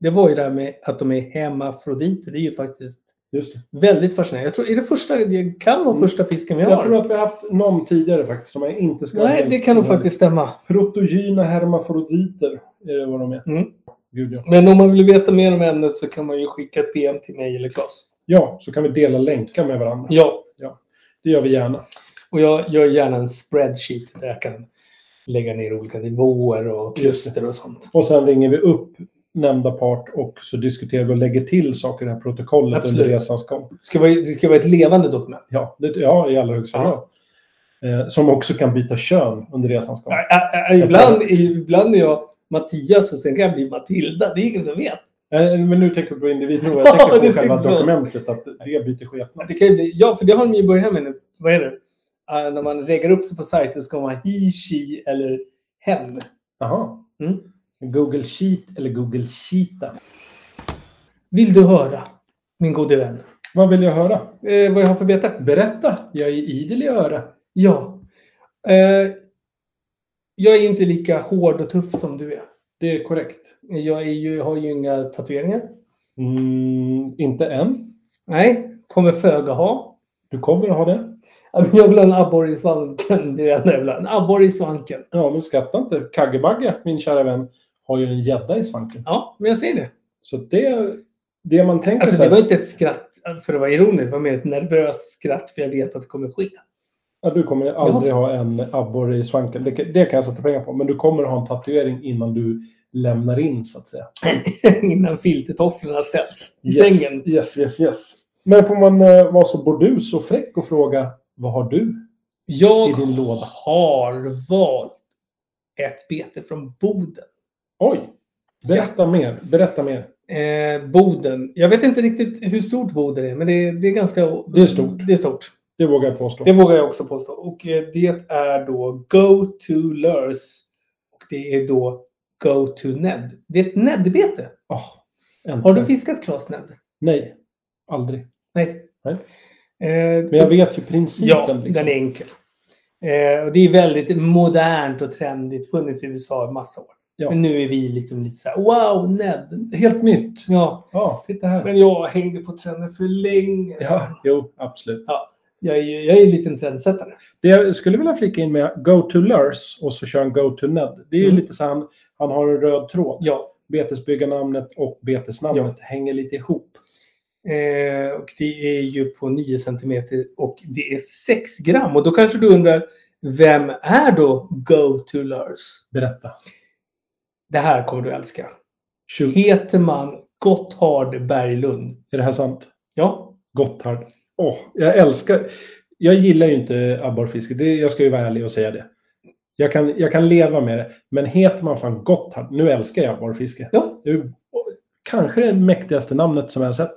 Det var ju det här med att de är hemmafroditer. Det är ju faktiskt
Just det.
väldigt fascinerande. Jag tror, är det första, det kan vara
Mm.
första fisken vi har.
Jag tror att vi har haft någon tidigare faktiskt som jag inte ska
Nej, det kan nog faktiskt stämma.
Protogyna hermafroditer är vad de är.
Mm.
Gud, ja.
Men om man vill veta mer om ämnet så kan man ju skicka ett PM till mig eller Claes.
ja, så kan vi dela länkar med varandra.
Ja,
Det gör vi gärna.
och jag gör gärna en spreadsheet där jag kan lägga ner olika nivåer och kluster och sånt.
Och sen ringer vi upp nämnda part och så diskuterar vi och lägger till saker i det här protokollet
Absolut.
under resans gång.
Det ska vara, det ska vara ett levande dokument.
Ja, det, ja i allra högsta grad.
Ja.
Eh, som också kan byta kön under resans gång.
Ä- ä- ä- Ibland, ibland är jag Mattias och sen kan jag bli Matilda. Det är ingen som vet.
Nej, Eh, men nu tänker jag på individnivå.
Ja,
Jag tänker
det
på själva
tänks så.
dokumentet, att det byter skepnad.
Det kan ju bli, ja, för det har de ju börjat med nu. Vad är det? Äh, när man reggar upp sig på sajten ska man ha he, she eller hen.
Jaha.
Mm.
Google Sheet eller Google Sheeta.
Vill du höra, min gode vän,
Vad vill jag höra?
eh, vad jag har för bete?
Berätta! Jag är idel i öra.
Ja. Eh, jag är ju inte lika hård och tuff som du är.
Det är korrekt.
Jag är ju, har ju inga tatueringar.
Mm, inte än.
Nej, kommer föga ha.
Du kommer att ha det.
Alltså, Jag vill ha en abborre i svanken. Det är det enda jag vill ha. En abborre i svanken.
Ja, men skratta inte. Kaggebagge, min kära vän, har ju en gädda i svanken.
Ja, men jag säger det.
Så det, det man tänker
Alltså,
så
det
här,
var inte ett skratt för att vara ironiskt. Det var mer ett nervöst skratt för jag vet att det kommer ske.
ja, du kommer aldrig ha en abborre i svanken. Det, det kan jag sätta pengar på. Men du kommer att ha en tatuering innan du lämnar in, så att säga.
Innan filtertofflorna ställs i
Yes,
sängen.
Yes, yes, yes. Men får man eh, vara så bordus och fräck och fråga vad har du?
Jag
I din låda.
har valt ett bete från Boden.
Oj! Berätta mer. Berätta mer.
Eh, Boden. Jag vet inte riktigt hur stort Boden är, men det är, det är ganska...
Det är stort.
Det är stort.
Det vågar jag påstå.
Det vågar jag också påstå. Och eh, det är då Go to Lurs. Och det är då Go to Ned. Det är ett Ned-bete.
Åh,
Har
Ah, äntligen.
du fiskat Claes Ned?
Nej, aldrig.
Nej.
Nej.
Eh,
Men jag vet ju principen.
Ja,
liksom.
den är enkel. Eh, och det är väldigt modernt och trendigt. Funnits i USA i massa år.
Ja.
Men nu är vi liksom lite så här, wow, Ned.
Helt nytt.
Ja,
Ja, titta här.
men jag hängde på trenden för länge sedan.
Ja, jo, absolut.
Jag är ju jag är en liten trendsättare.
Det jag skulle vilja flika in med Go to Lurs och så kör en Go to Ned. Det är ju
Mm.
lite så han, han har en röd tråd.
Ja.
Betesbyggarnamnet och betesnamnet hänger lite ihop.
Eh, och det är ju på 9 cm och det är 6 gram. Och då kanske du undrar, vem är då Go to Lurs?
Berätta.
Det här kommer du älska.
Shoot.
Heter man Gotthard Berglund?
Är det här sant?
Ja.
Gotthard. Åh, jag älskar... Jag gillar ju inte abborrfiske. Det, jag ska ju vara ärlig och säga det. Jag kan, jag kan leva med det. Men heter man fan Gotthard... Nu älskar jag abborrfiske.
Ja.
Det är ju- kanske det mäktigaste namnet som jag har sett.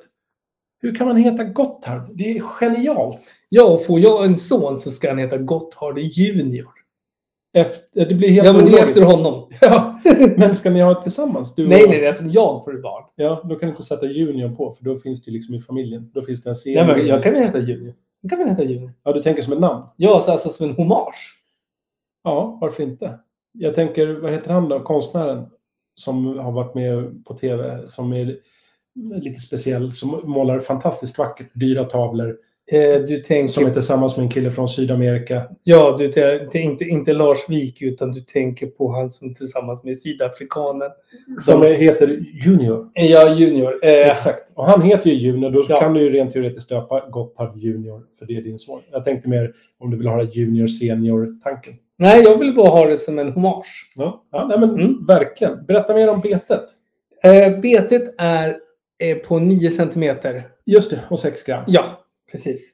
Hur kan man heta Gotthard? Det är genialt.
Ja, och får jag en son så ska han heta Gotthard Junior.
Efter, det blir helt
Ja, men det är
ologiskt.
efter honom.
Ja, men ska ni ha det tillsammans? Du och
Nej,
jag?
nej, det är som jag får ett barn.
Ja, då kan du inte sätta Junior på, för då finns det liksom i familjen. Då finns det
Ja,
en serie.
men jag kan väl heta Junior? Jag kan väl heta Junior?
ja, du tänker som ett namn?
Ja, så alltså som en hommage.
Ja, varför inte? Jag tänker, vad heter han då, konstnären som har varit med på tv, som är lite speciell, som målar fantastiskt vackert, dyra tavlor,
Eh, du tänker...
som är tillsammans med en kille från Sydamerika.
Ja, du tänker inte, inte Lars Wik utan du tänker på han som tillsammans med sydafrikanen.
Som heter Junior.
Eh, Ja, Junior. Eh,
Exakt. Och han heter ju Junior, då
Ja.
kan du ju rent teoretiskt döpa Gotthard Junior, för det är din son. Jag tänkte mer om du vill ha det här Junior Senior-tanken.
nej, jag vill bara ha det som en hommage.
Ja, ja nej men
Mm.
verkligen. Berätta mer om betet.
Eh, betet är eh, på 9 centimeter.
Just det, och 6 gram.
Ja, precis.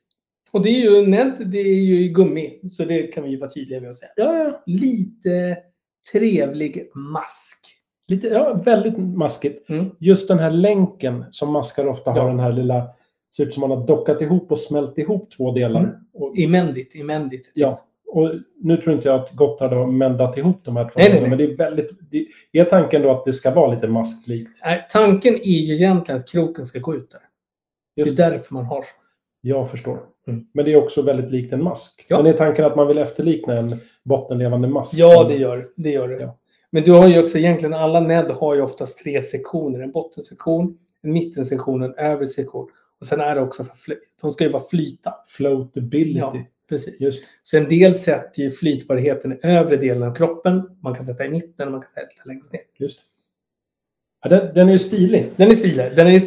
Och det är ju ned, det är ju gummi, så det kan vi ju vara tydliga med att säga.
Ja, ja.
Lite trevlig mask.
Lite, ja, väldigt maskigt.
Mm.
just den här länken som maskar ofta
Ja.
har den här lilla ser ut som man har dockat ihop och smält ihop två delar.
Mm.
Och,
Imändigt, imändigt.
ja. och nu tror inte jag att Gotthard har mändat ihop de här två
Nej, nej,
delarna, men det är väldigt... Det, är tanken då att det ska vara lite masklikt?
Nej, tanken är ju egentligen att kroken ska gå ut där.
Just-
Det är därför man har så.
Jag förstår.
Mm.
Men det är också väldigt likt en mask.
Ja.
Men är tanken att man vill efterlikna en bottenlevande mask?
Ja, det gör det. Gör det.
Ja.
Men du har ju också egentligen, alla NED har ju oftast tre sektioner. En bottensektion, en mittensektion och en övre sektion. Och sen är det också för fly- de ska ju vara flyta.
Floatability.
Ja, precis.
Just.
Så en del sätter ju flytbarheten i övre delen av kroppen. Man kan sätta i mitten och man kan sätta längst ner.
Just. Ja, den, den är ju stilig.
Den är stilig. Den är,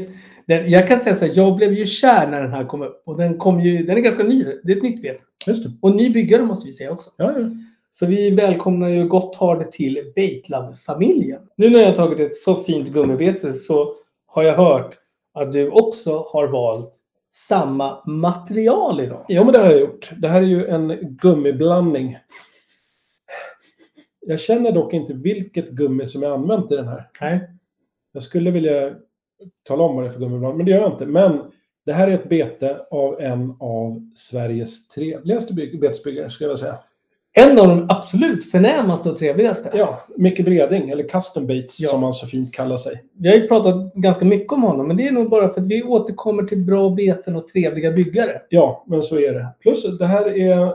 den, jag kan säga så här, jag blev ju kär när den här kom upp. Och den, kom ju, den är ganska ny. Det är ett nytt bete.
Just det.
Och ny byggare måste vi säga också.
Ja, ja.
Så vi välkomnar ju Gotthard till Baitlab-familjen. Nu när jag har tagit ett så fint gummibete så har jag hört att du också har valt samma material idag.
ja, men det har jag gjort. Det här är ju en gummiblandning. Jag känner dock inte vilket gummi som jag använt i den här.
Nej.
Jag skulle vilja tala om vad det är för gummiblandning, men det gör jag inte. Men det här är ett bete av en av Sveriges trevligaste byg- betesbyggare, skulle jag vilja säga.
En av de absolut förnämaste och trevligaste.
Ja, Micke Breding, eller Custom Baits
Ja.
som han så fint kallar sig.
Vi har ju pratat ganska mycket om honom, men det är nog bara för att vi återkommer till bra beten och trevliga byggare.
Ja, men så är det. Plus, det här är...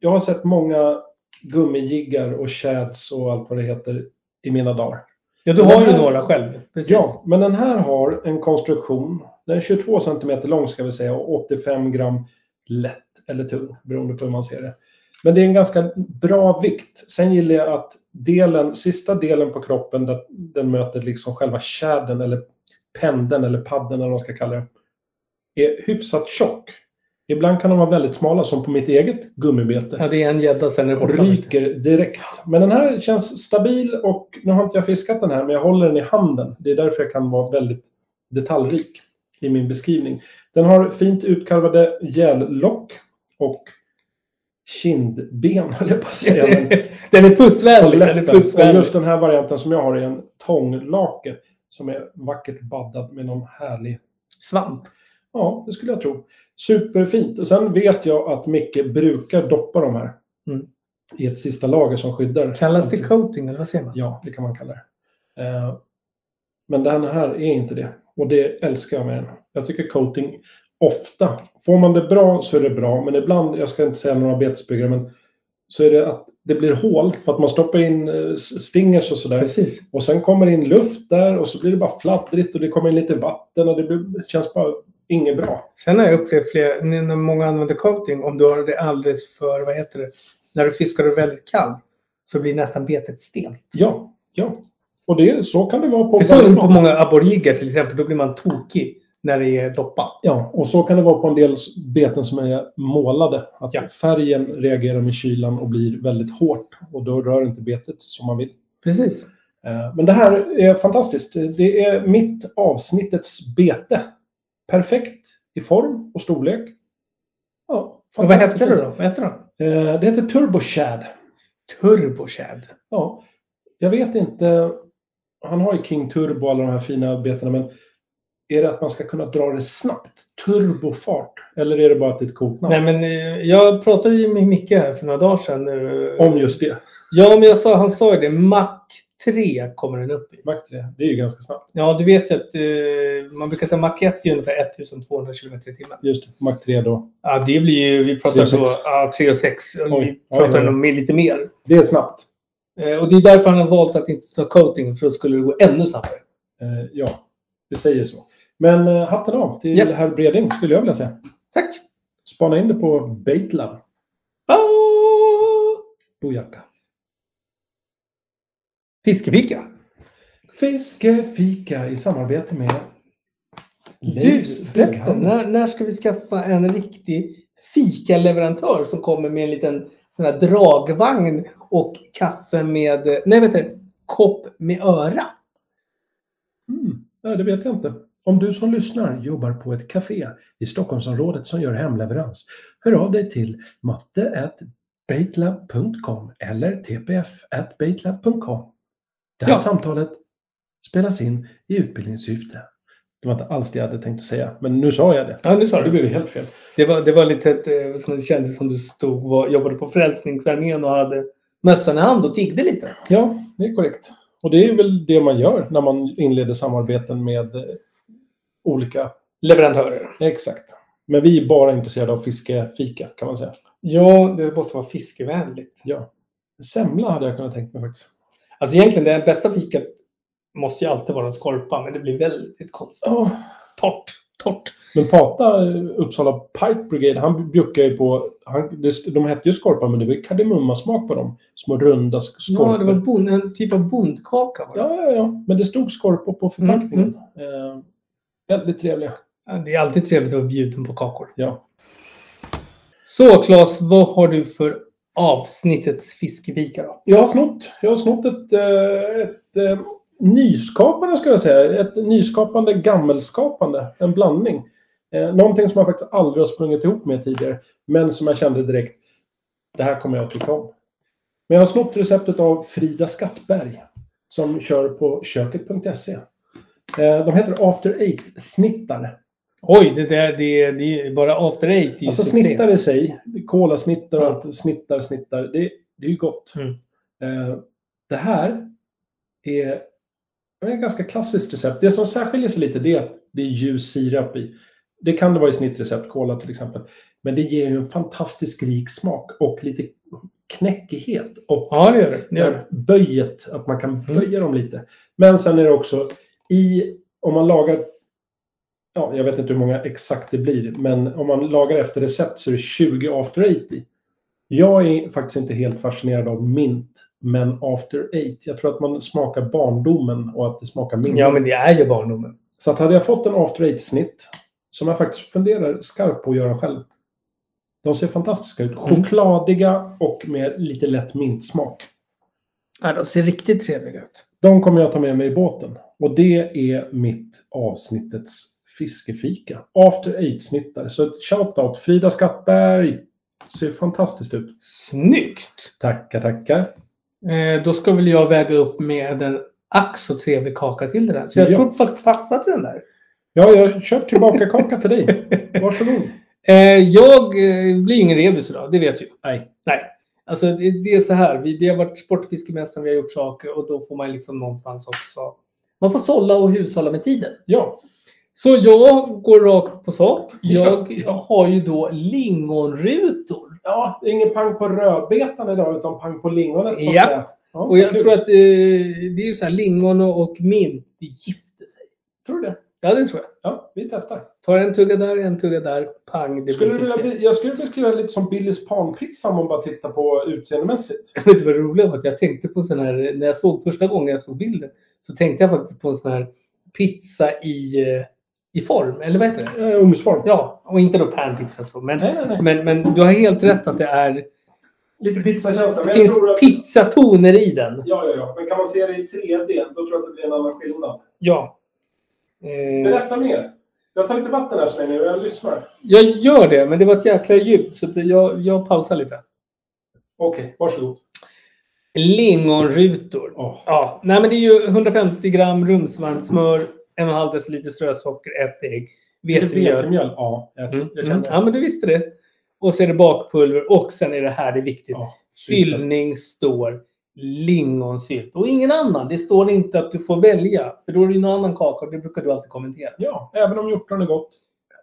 Jag har sett många gummijiggar och shads och allt vad det heter i mina dagar.
Ja, du
Men
har
den
ju
här-
några själv. Precis.
Ja, men den här har en konstruktion. Den är 22 cm lång ska vi säga och 85 gram lätt eller tung, beroende på hur man ser det. Men det är en ganska bra vikt. Sen gillar jag att delen, sista delen på kroppen, där den möter liksom själva tjädern eller pendeln eller padden eller vad man ska kalla det, är hyfsat tjock. Ibland kan de vara väldigt smala, som på mitt eget gummibete
Ja, det är en gädda sen är det
och
borta.
ryker direkt. Men den här känns stabil och nu har inte jag fiskat den här, men jag håller den i handen. Det är därför jag kan vara väldigt detaljrik i min beskrivning. Den har fint utkarvade gällock och kindben, höll jag på att säga. men-
Den är pussvänlig. Den är
läppen. Och
pussvänlig.
just den här varianten som jag har är en tånglake som är vackert baddad med någon härlig
Svamp.
Ja, det skulle jag tro. Superfint. Och sen vet jag att Micke brukar doppa de här
Mm.
i ett sista lager som skyddar.
Kallas det coating, eller vad säger man?
Ja, det kan man kalla det. Eh, Men den här är inte det. Och det älskar jag med den. Jag tycker coating ofta. Får man det bra så är det bra. Men ibland, jag ska inte säga några betesbyggare, men så är det att det blir hål för att man stoppar in eh, stingers och sådär.
Precis.
Och sen kommer det in luft där och så blir det bara fladdrigt och det kommer in lite vatten och det blir, det känns bara inget bra.
Sen har jag upplevt fler, när många använder coating, om du har det alldeles för, vad heter det, när du fiskar det väldigt kallt så blir nästan betet stelt.
Ja, ja. Och det, så kan det vara på
För så är det
varje
på
plan.
många aboriger till exempel, då blir man tokig när det är doppat.
Ja, och så kan det vara på en del s- beten som är målade. Att
Ja.
färgen reagerar med kylan och blir väldigt hårt. Och då rör inte betet som man vill.
Precis.
Eh, Men det här är fantastiskt. Det är mitt avsnittets bete. Perfekt i form och storlek. Ja,
Och vad hette det då? Vad hette det?
Eh, Det heter Turbo Shad.
Turboshad.
Ja, jag vet inte. Han har ju King Turbo och alla de här fina betena, men är det att man ska kunna dra det snabbt? Turbofart? Eller är det bara att det är ett coolt namn?
Nej men eh, jag pratade ju med Micke här för några dagar sedan. eh,
Om just det.
Ja men jag sa, han sa ju det, Mac 3 kommer den upp i.
Mac 3, det är ju ganska snabbt.
Ja du vet ju att eh, man brukar säga Mac 1 är ungefär 1200 km i timmen.
Just det, Mac 3 då.
Ja, det blir ju... Vi pratar
Tre och
då
sex.
ja, 3 och 6.
Oj,
Vi
oj,
pratar
oj.
om lite mer.
Det är snabbt.
Eh, Och det är därför han har valt att inte ta coating, för då skulle det gå ännu snabbare.
Eh, ja, vi säger så. Men eh, hatten av till
Ja.
herr Breding skulle jag vilja säga.
Tack!
Spana in det på Baitlab.
Oh!
Bojacka.
Fiskefika.
Fiskefika i samarbete med...
Du
Leif
förresten,
Flughammer.
när, när ska vi skaffa en riktig fikaleverantör som kommer med en liten sån här dragvagn och kaffe med... eh, Nej, vänta. Kopp med öra.
Mm. Nej, det vet jag inte. Om du som lyssnar jobbar på ett café i Stockholmsområdet som gör hemleverans, hör av dig till matte.baitlab.com eller tpf.baitlab.com. Det här
Ja.
samtalet spelas in i utbildningssyfte. Det var inte alls det jag hade tänkt att säga, men nu sa jag det.
Ja, nu sa
Ja, det
du.
blev ju helt fel.
Det var, det var lite ett, eh, som det kändes som du stod var, jobbade på Frälsningsarmén och hade mössan i hand och tiggde lite.
Ja, det är korrekt. Och det är väl det man gör när man inleder samarbeten med eh, olika...
Leverantörer.
Exakt. Men vi är bara intresserade av fiskefika, kan man säga.
Ja, det måste vara fiskevänligt.
Ja. Semla hade jag kunnat tänkt mig faktiskt.
Alltså egentligen, det bästa fikat måste ju alltid vara en skorpa, men det blir väldigt konstigt.
Ja.
Torrt. Torrt.
Men Pata, eh, Uppsala Pipe Brigade, han bjuckar ju på... Han, det- de hette ju skorpar, men det var ju kardemummasmak på dem. Små runda sk- skorpor.
Ja, det var bon, en typ av bondkaka. Var det.
ja, ja, ja. Men det stod skorpor på förpackningen.
Mm,
Eh, väldigt trevliga.
Ja, Det är alltid trevligt att vara bjuden på kakor.
Ja.
Så Claes, vad har du för avsnittets fiskefika då?
Jag har snott, jag har snott ett, eh, ett eh, nyskapande, ska jag säga. Ett nyskapande, gammelskapande. En blandning. Eh, Någonting som jag faktiskt aldrig har sprungit ihop med tidigare, men som jag kände direkt, det här kommer jag att tycka om. Men jag har snott receptet av Frida Skattberg, som kör på köket.se. E. Eh, De heter After Eight-snittar.
Oj, det, där, det, det är bara after eight i
Alltså
succé.
snittar i sig, kolasnittar och
Ja.
allt, snittar, snittar, det, det är ju gott.
Mm.
Eh, det här är det är ett ganska klassiskt recept. Det som särskiljer sig lite det är att det är ljus sirap i. Det kan det vara i snittrecept, kola till exempel. Men det ger ju en fantastisk rik smak och lite knäckighet och
Ja, det gör det. det, gör det.
böjet, att man kan
Mm.
böja dem lite. Men sen är det också i, om man lagar, ja, jag vet inte hur många exakt det blir, men om man lagar efter recept så är det 20 after eight i. Jag är faktiskt inte helt fascinerad av mint, men after eight. Jag tror att man smakar barndomen och att det smakar mint.
Ja, men det är ju barndomen.
Så att hade jag fått en after eight-snitt, som jag faktiskt funderar skarpt på att göra själv. De ser fantastiska
Mm.
ut. Chokladiga och med lite lätt mintsmak.
Ja, de ser riktigt trevliga ut.
De kommer jag ta med mig i båten. Och det är mitt avsnittets fiskefika. After Eight-snittar. Så ett shout-out. Frida Skattberg. Ser fantastiskt ut.
Snyggt!
Tackar, tackar.
Eh, då ska väl jag väga upp med en ax så trevlig kaka till det där. Så jag
Ja.
tror faktiskt passar till den där.
Ja, jag kör tillbaka kaka till dig. Varsågod.
Eh, jag eh, blir ju ingen rebus idag, det vet du.
Nej.
Alltså det, det är så här, vi, det har varit Sportfiskemässan, vi har gjort saker och då får man liksom någonstans också... Man får sålla och hushålla med tiden.
Ja.
Så jag går rakt på sak.
Ja.
Jag har ju då lingonrutor.
Ja, det är ingen pang på rödbetan idag, utan pang på lingonet. så att
Ja.
säga. Ja,
Och jag
kul.
tror att eh, det är ju så här, lingon och och mint, det gifter sig.
Tror du det?
Ja, det tror jag.
Ja, vi testar.
Tar en tugga där, en tugga där, pang, det
Skulle du
blir
vilja,
succé.
bli- jag skulle beskriva det lite som Billys panpizza om man bara tittar på utseendemässigt.
Vet du vad det roliga var? Att Jag tänkte på sån här, när jag såg första gången jag såg bilden, så tänkte jag faktiskt på en sån här pizza i, eh, i form, eller vad heter det?
Eh, Ugnsform.
Ja, och inte då panpizza så, men,
Nej, nej, nej.
men, men du har helt rätt att det är,
Lite pizzakänsla. men
det
jag
finns
tror att-
pizzatoner i den.
Ja, ja, ja. Men kan man se det i 3D, då tror jag att det blir en annan skillnad.
Ja. Eh,
Berätta mer. Jag tar lite vatten här så länge och jag lyssnar.
jag gör det, men det var ett jäkla ljud, så att jag, jag pausar lite.
Okej, varsågod.
Lingonrutor.
Oh.
Ja, nej men det är ju 150 gram rumsvarmt smör, 1,5 deciliter strösocker, ett ägg, vetemjöl.
Vetemjöl? Ja, jag,
Mm,
jag
mm.
känner
Ja, men du visste det. Och så är det bakpulver och sen är det här det är viktigt.
Ja,
Fyllning står lingonsylt och ingen annan. Det står inte att du får välja, för då är det ju någon annan kaka och det brukar du alltid kommentera.
Ja, även om hjortron är gott.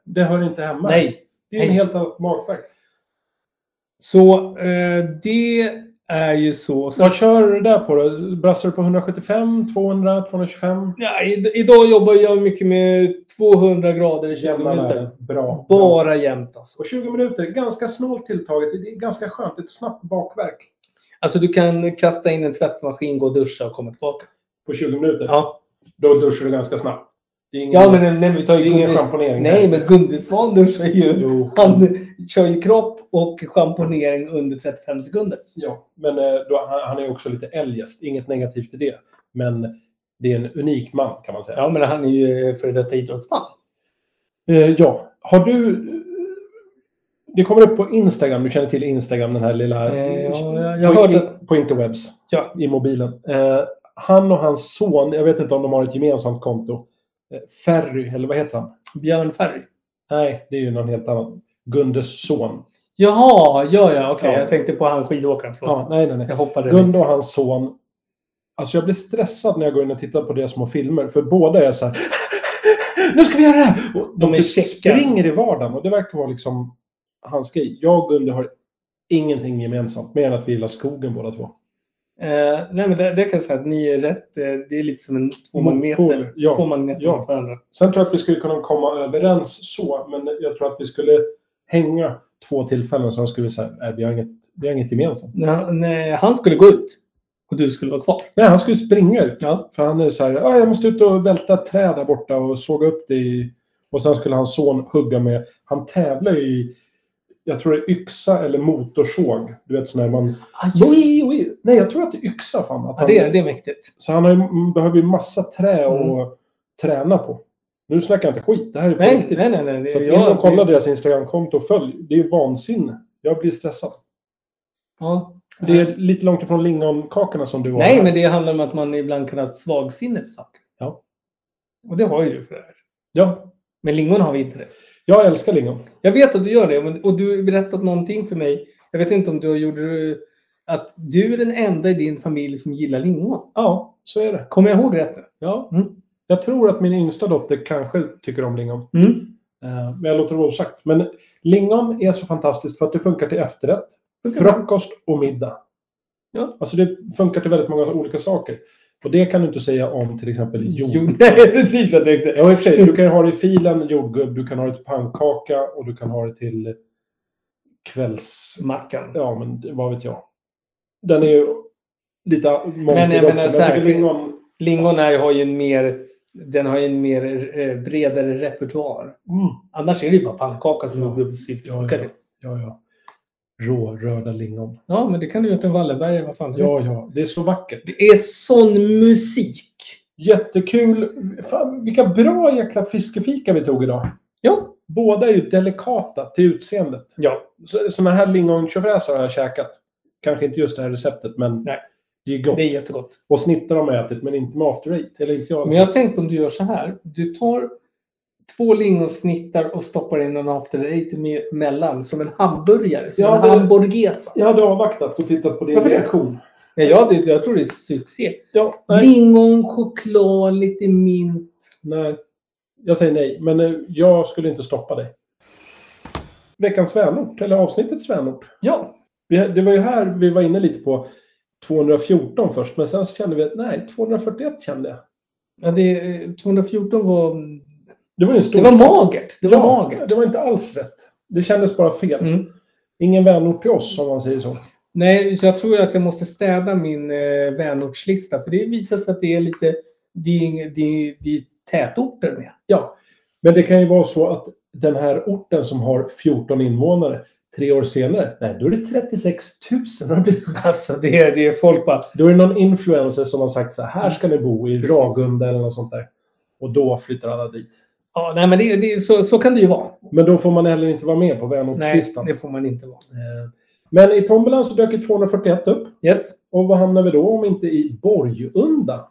Det hör inte hemma.
Nej.
Det är en
Nej.
helt annat magverk.
Så eh, det är ju så. så
Vad kör du där på då? Brassar du på 175, 200, 225?
ja, i, idag jobbar jag mycket med 200 grader i 20
Jämna
minuter.
värden. Bra. Bra.
Bara jämnt alltså.
Och 20 minuter, ganska snålt tilltaget. Det är ganska skönt. Ett snabbt bakverk
Alltså du kan kasta in en tvättmaskin, gå och duscha och komma tillbaka.
på 20 minuter.
Ja,
Då duschar du ganska snabbt. Det är ingen,
ja men nej, vi tar
det är
ju
ingen
Gunde...
schamponering.
Nej, men Gunde Svan duschar ju.
Jo.
Han kör ju kropp och schamponering under 35 sekunder.
Ja, men eh, då, han, han är också lite eljest. Inget negativt i det. Men det är en unik man kan man säga.
Ja, men han är ju före detta idrottsman.
Eh, ja. Har du... eh, Det kommer upp på Instagram. Du känner till Instagram, den här lilla...
Eh, ja, jag- jag
på,
hörde
in, på interwebs.
Ja.
I mobilen. Eh, han och hans son, jag vet inte om de har ett gemensamt konto. eh, Ferry, eller vad heter han?
Björn Ferry.
Nej, det är ju någon helt annan. Gundes son.
Jaha, ja, ja, okej.
Ja.
Jag tänkte på han skidåkaren. Förlåt.
Ja, nej, nej, nej.
Jag hoppade
Gunde
lite.
och hans son. Alltså jag blir stressad när jag går in och tittar på deras små filmer. För båda är så här. Nu ska vi göra det här! Och de
De är
typ
checkar.
springer i vardagen. Och det verkar vara liksom hans grej. Jag och Gunde har ingenting gemensamt. Mer än att vi gillar skogen båda två.
Eh, nej, men det, det kan jag säga att ni är rätt. eh, Det är lite som en två magneter.
Motpoler, ja.
Två magneter
Ja.
mot varandra.
Sen tror jag att vi skulle kunna komma överens så. Men jag tror att vi skulle hänga två tillfällen. Sen skulle vi säga, nej vi har inget, vi har inget gemensamt.
När han- när han skulle gå ut och du skulle vara kvar.
Nej, han skulle springa ut.
Ja.
För han är så här, ah, jag måste ut och välta ett träd där borta och såga upp det. I... Och sen skulle hans son hugga med, han tävlar ju i, jag tror det är yxa eller motorsåg. Du vet sån här man...
Ah, just.
Oi, oi. Nej, jag tror att det är yxa fan. Att
Ja,
han...
det, Mm. det är mäktigt.
Så han har ju, m- behöver ju massa trä att träna på. Nu snackar jag inte skit, det här är på
Nej,
riktigt.
nej, nej. nej.
Så att
jag-
in och kolla deras Instagramkonto och följ. Det är ju vansinne. Jag blir stressad.
Ja.
Det är lite långt ifrån lingonkakorna som du har
Nej,
här.
men det handlar om att man ibland kan ha ett svagsinne för saker.
Ja.
Och det har ju du för det här.
Ja,
Men lingon har vi inte det.
jag älskar lingon.
Jag vet att du gör det men- och du har berättat någonting för mig. Jag vet inte om du har gjort eh, att du är den enda i din familj som gillar lingon.
Ja, så är det.
Kommer jag ihåg rätt nu?
Ja.
Mm.
Jag tror att min yngsta dotter kanske tycker om lingon. Eh, Men jag låter det vara osagt. Men lingon är så fantastiskt för att det funkar till efterrätt,
Funkar bra.
frukost och middag.
Ja.
Alltså det funkar till väldigt många olika saker. Och det kan du inte säga om till exempel jord.
Jo, nej, precis vad jag tänkte.
Ja, i och för sig. Du kan ju ha det i filen jordgubb, du kan ha det till pannkaka och du kan ha det till kvälls...
Mackan.
Ja, men vad vet jag. Den är ju lite mångsidig
menar
också. Men jag
så här-
tycker lingon...
Lingon är, har ju en mer, den har ju en mer eh, bredare repertoar.
Mm.
Annars är det ju bara pannkaka som
Ja.
jordgubbssyfte
Ja,
funkar till.
Ja, ja. Rårörda lingon.
Ja, men det kan du göra till en Wallenberg. Vad fan du vill.
Ja, ja. Det är så vackert.
Det är sån musik.
Jättekul. Fan, vilka bra jäkla fiskefika vi tog idag.
Ja.
Båda är ju delikata till utseendet.
Ja.
Så- Såna här lingontjofräsar har jag käkat. Kanske inte just det här receptet, men
Nej.
det är gott.
Det är jättegott.
Och snittar har man ätit, men inte med after eight. Eller inte jag.
Men jag tänkte om du gör så här. Du tar två lingonsnittar och stoppar in en after eight emellan som en hamburgare. Som
Ja,
en
det-
hamburgesa.
jag hade avvaktat och tittat på din
Varför det?
reaktion.
Nej, jag, det, jag tror det är succé.
Ja, nej,
Lingon, choklad, lite mint.
nej. Jag säger nej, men eh, jag skulle inte stoppa dig. Veckans vänort, eller avsnittets vänort.
Ja.
Vi, det var ju här vi var inne lite på 214 först, men sen så kände vi att nej, 241 kände jag.
ja det, 214 var...
Det var ju en stor...
Det var magert. Det var
Ja,
magert.
Det var inte alls rätt. Det kändes bara fel.
Mm.
Ingen vänort till oss, om man säger så.
Nej, så jag tror att jag måste städa min eh, vänortslista. För det visar sig att det är lite... Det är, ing- det är, det är tätorter med.
Ja, men det kan ju vara så att den här orten som har 14 invånare, tre år senare, nej, då är det 36 000. har blivit.
Alltså, det är, det är folk bara...
Då är det någon influencer som har sagt så här, här ska ni bo i
Precis.
Ragunda eller något sånt där. Och då flyttar alla dit.
Ja, nej, men det, det, så, så kan det ju vara.
Men då får man heller inte vara med på
Nej,
vänortslistan.
det får man inte vara.
Eh, Men i tombolan så dök ju 241 upp.
Yes.
Och vad hamnar vi då om inte i Borgunda?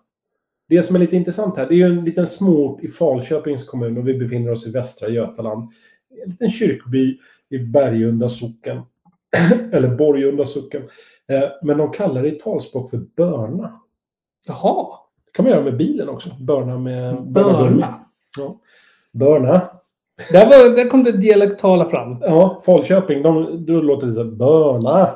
Det som är lite intressant här, det är ju en liten småort i Falköpings kommun och vi befinner oss i Västra Götaland. En liten kyrkby i Bergunda socken. Eller Borgunda socken. Eh, Men de kallar det i talspråk för Börna.
Jaha.
Det kan man göra med bilen också. Börna med... Gummi.
Börna.
Börna.
Där, var, där kom det dialektala fram.
Ja, Falköping, de, då låter det så här, Börna.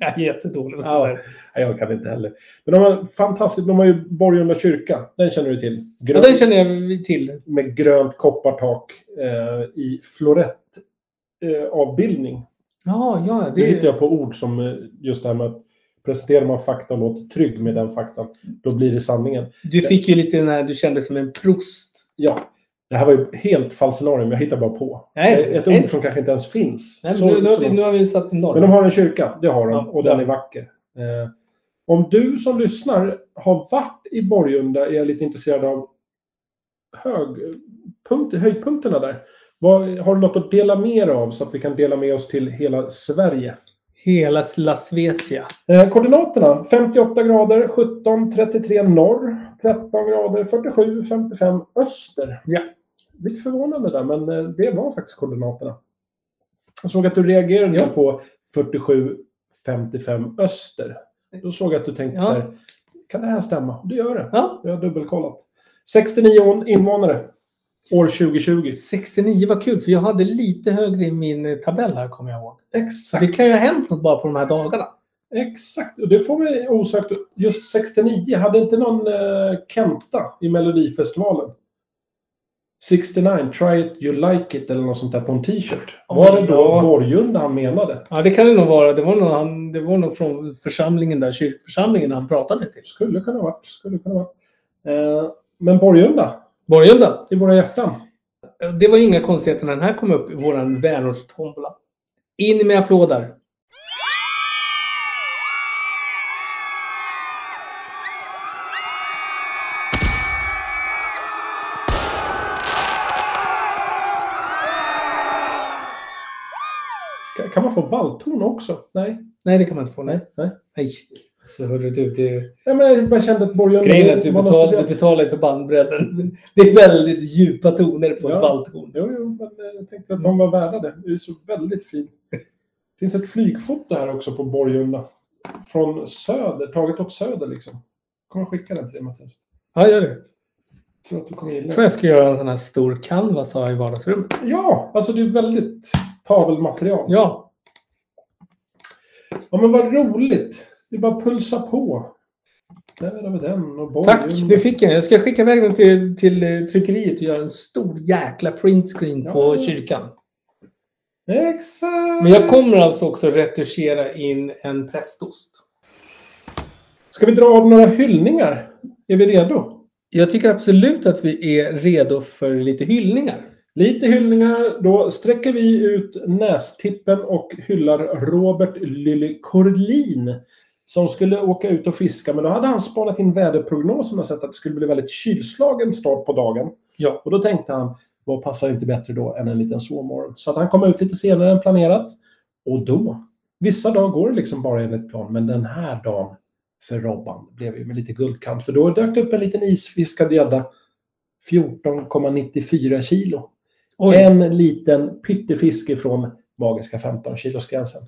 Jag är jättedålig. på
Ja.
det där.
Nej, jag kan inte heller. Men de har fantastiskt. De har ju Borgunda kyrka. Den känner du till.
Ja,
Grön,
den känner jag till.
Med grönt koppartak eh, i florettavbildning. Eh, avbildning.
Ja, ja.
det
Det,
hittar jag på ord som eh, just det här med att presenterar man fakta och låter trygg med den faktan, då blir det sanningen.
du fick ju lite den här, du kände som en prost.
Ja, det här var ju helt falsarium. Jag hittar bara på. Eh,
Nej,
Ett
nej.
ord som kanske inte ens finns.
Nej, men
Så-
nu, nu, har
så
vi,
långt.
nu har vi satt en norm.
Men de har en kyrka, det har de.
Ja,
och den
ja.
är vacker. Eh, om du som lyssnar har varit i Borgunda är jag lite intresserad av högpunkt, höjdpunkterna där. Vad, har du något att dela med dig av så att vi kan dela med oss till hela Sverige?
Hela Las Vesia.
Eh, koordinaterna 58 grader 17, 33 norr, 13 grader 47, 55 öster.
Ja.
Lite förvånande där, men eh, det var faktiskt koordinaterna. Jag såg att du reagerade
Ja.
på 47, 55 öster. Då såg jag att du tänkte
Ja.
så här, kan det här stämma? Du gör det.
Ja,
Jag har dubbelkollat. 69 invånare. År 2020.
69 var kul för jag hade lite högre i min eh, tabell här kommer jag ihåg. Så
Exakt.
det kan ju ha hänt något bara på de här dagarna.
Exakt. Och det får mig osökt. Just 69, hade inte någon eh, Kenta i Melodifestivalen? 69, try it, you like it eller något sånt där på en t-shirt. Var det då
Ja.
Borgunda han menade?
Ja, det kan det nog vara. Det var nog, han, det var nog från församlingen där, kyrkförsamlingen han pratade till.
Skulle kunna ha varit. Skulle kunna ha varit. Eh, men Borgunda,
Borgunda.
i våra hjärtan.
Eh, Det var ju inga konstigheter när den här kom upp i våran vänortstombola. In med applåder.
Ka- Kan man få valthorn också? Nej.
Nej, det kan man inte få. Nej.
Nej. Nej.
Nej. Så hörru du, det...
Nej, men jag bara kände att Borgunda...
Grejen är att du
var något
betalar,
speciellt.
du betalar ju för bandbredden. Det är väldigt djupa toner på
Ja.
ett valthorn.
Jo, jo, men eh, jag tänkte att de var värda det. Det är så väldigt fint. Det finns ett flygfoto här också på Borgunda. Från söder, taget åt söder liksom. Jag kommer skicka den till dig Mattias.
Ja, gör det.
Jag tror att du kommer gilla
Jag tror
den.
jag ska göra en sån här stor canvas här i vardagsrummet.
Ja, alltså det är väldigt tavelmaterial. Ja.
Ja,
men vad roligt. Det är bara att pulsa på. Där har vi den och Borgunda.
tack. Du fick en. Jag ska skicka iväg den till, till eh, tryckeriet och göra en stor jäkla printscreen på
Ja.
kyrkan.
Exakt!
Men jag kommer alltså också retuschera in en prästost.
Ska vi dra av några hyllningar? Är vi redo?
Jag tycker absolut att vi är redo för lite hyllningar.
Lite hyllningar. Då sträcker vi ut nästippen och hyllar Robert Lilly Korlin. Som skulle åka ut och fiska, men då hade han spanat in väderprognosen och sett att det skulle bli väldigt kylslagen start på dagen.
Ja.
Och då tänkte han, vad passar inte bättre då än en liten sovmorgon? Så att han kom ut lite senare än planerat. Och då, vissa dagar går det liksom bara enligt plan, men den här dagen för Robban blev ju med lite guldkant. För då dök det upp en liten isfiskad gädda, 14,94 kilo.
Oj.
En liten pyttefisk ifrån magiska 15 kilosgränsen.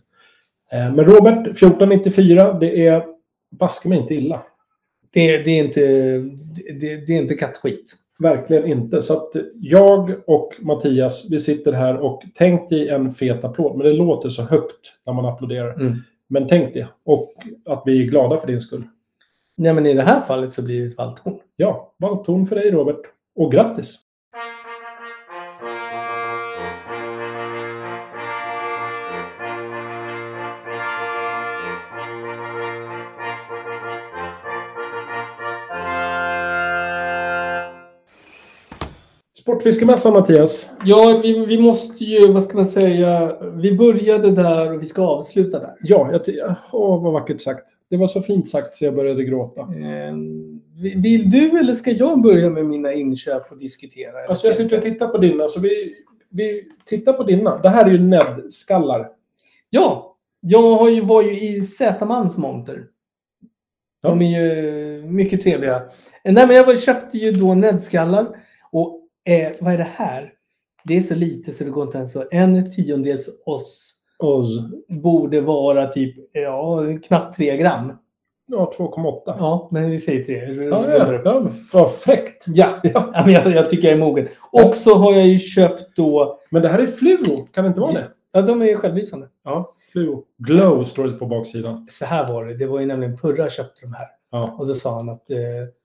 Eh, Men Robert, 1494, det är baske mig inte illa.
Det, det, är inte, det, det är inte kattskit.
Verkligen inte. Så att jag och Mattias, vi sitter här och tänk dig en fet applåd. Men det låter så högt när man applåderar.
Mm.
Men tänk det. Och att vi är glada för din skull.
Nej, men i det här fallet så blir det ett valthorn.
Ja, valthorn för dig Robert. Och grattis! Sportfiskemässan Mattias.
Ja, vi, vi måste ju, vad ska man säga, vi började där och vi ska avsluta där.
Ja, jag ty- åh, vad vackert sagt. Det var så fint sagt så jag började gråta.
Ehm, vi- vill du eller ska jag börja med mina inköp och diskutera? eller
Alltså jag sitter och tittar på dina. Så vi, vi tittar på dina. Det här är ju Ned-skallar.
Ja, jag har ju, var ju i Z-Mans monter. De är ju mycket trevliga. Eh, Nej, men jag var, köpte ju då näbbskallar. Och eh, vad är det här? Det är så lite så det går inte ens att... En tiondels oss
Oz.
borde vara typ ja, knappt tre gram.
Ja, 2,8.
Ja, men vi säger tre.
Ja, ja, ja. Vad fräckt.
Ja, ja, men jag, jag tycker jag är mogen. Och så har jag ju köpt då...
Men det här är fluo. Kan det inte vara det?
Ja, de är ju självlysande.
Ja, fluo. Glow står det på baksidan.
Så här var det. Det var ju nämligen Purra köpte de här.
Ja,
Och så sa han att... Eh,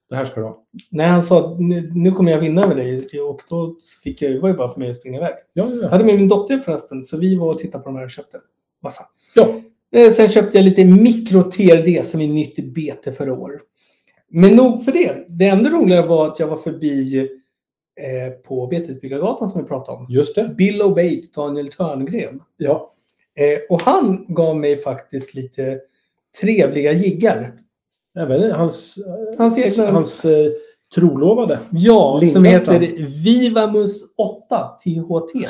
det här ska du ha.
Nej, han sa nu, nu kommer jag vinna över dig. Och då fick jag, det var ju bara för mig att springa iväg.
Ja,
Jag
ja,
hade med min dotter förresten, så vi var och tittade på de här och köpte massa.
ja.
Eh, Sen köpte jag lite mikro-TRD som är nytt i bete för år. Men nog för det. Det ännu roligare var att jag var förbi eh, på Betesbyggargatan som vi pratade om.
Just det.
Bill O'Bate, Daniel Törngren.
Ja.
Eh, och han gav mig faktiskt lite trevliga jiggar.
Även hans,
Hans egna-
hans eh, trolovade.
Ja, som
Lindestam.
heter Vivamus 8 THT.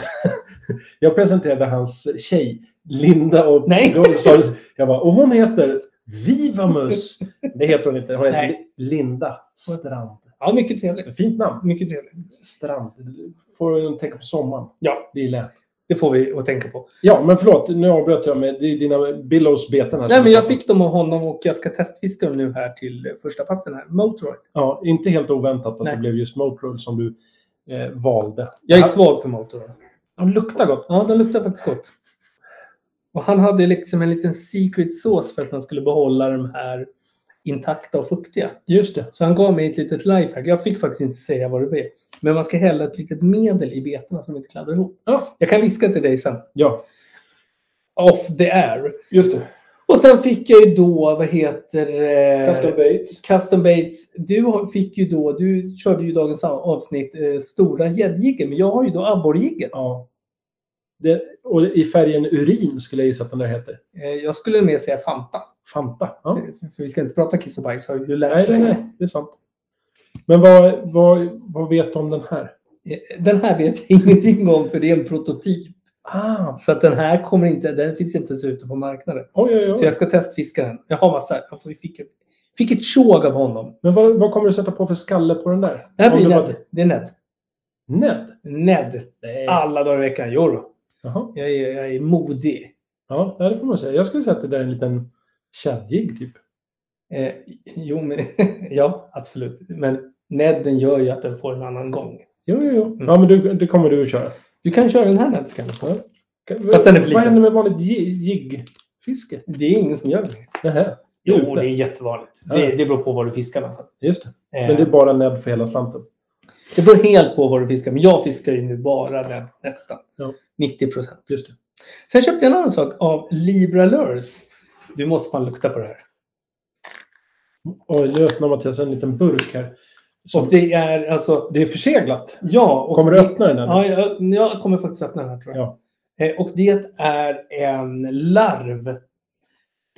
Jag presenterade hans tjej Linda och
Nej.
Golf sa det. Jag bara, och hon heter Vivamus. Det heter hon inte. Hon heter
Nej.
Linda Strand.
Ja, mycket trevligt.
Ett Fint namn.
Mycket trevligt.
Strand. Får hon tänka på sommaren.
Ja,
Det gillar jag.
det får vi att tänka på.
Ja, men förlåt. Nu avbröt jag med det är dina Billows beten här.
Nej, men jag fick dem av honom och jag ska testfiska dem nu här till eh, första passen här. Motoroid.
Ja, inte helt oväntat att
Nej.
det blev just Motoroll som du eh, valde.
Jag är svag för Motoroid.
De luktar gott.
Ja, de luktar faktiskt gott. Och han hade liksom en liten secret sauce för att man skulle behålla de här intakta och fuktiga.
Just det.
Så han gav mig ett litet lifehack. Jag fick faktiskt inte säga vad det är. Men man ska hälla ett litet medel i betorna som inte kladdar ihop.
Ja,
Jag kan viska till dig sen.
ja
Off the air.
just det.
Och sen fick jag ju då, vad heter... eh,
Custom Bates.
Custom Baits. Du har- fick ju då, du körde ju dagens av- avsnitt eh, stora gäddjiggen. Men jag har ju då abborrjiggen.
Ja. Det, och i färgen urin skulle jag gissa att den där heter.
Eh, jag skulle mer säga Fanta.
Fanta. Ja.
För, för vi ska inte prata kiss och bajs har ju lärt
Nej, nej,
dig.
nej, det är sant. Men vad, vad, vad vet du om den här?
Eh, Den här vet jag ingenting om för det är en prototyp.
Ah,
Så att den här kommer inte, den finns inte ens ute på marknaden.
oj, oj,
Så
oj.
jag ska testfiska den. Jag har massa. Jag fick ett, fick ett tjog av honom.
Men vad, vad kommer du sätta på för skalle på den där?
Det här
Om
blir
det var-
Ned. Det är Ned.
Ned?
Ned.
Nej.
Alla dagar i veckan. Jo då.
Jaha.
jag är, jag är modig.
Ja, det får man säga. Jag skulle säga att det där är en liten tjadjig typ.
Eh, jo, men ja, absolut. Men Nedden gör ju att den får en annan gång.
Jo, jo, jo.
Mm.
Ja, men du, det kommer du att köra.
Du kan köra den här Ned. Ska du.
Ja.
Fast den är för liten.
Vad händer med vanligt ji- jiggfiske?
Det är ingen som gör det.
Nähä.
Jo,
Ute.
det är jättevanligt.
Ja.
Det, det beror på vad du fiskar. Alltså.
Just det.
Eh,
Men det är bara näbb för hela slanten.
det beror helt på vad du fiskar. Men jag fiskar ju nu bara Ned, nästan.
Ja.
90 procent.
Just det.
Sen köpte jag en annan sak av Libra Lures. Du måste fan lukta på det här.
Oj, nu öppnar Mattias en liten burk här. Som-
Och det är alltså...
Det är förseglat.
Ja, och
Kommer
det,
du öppna den? Här?
Ja, jag, jag kommer faktiskt öppna den här tror jag. Eh, och det är en larv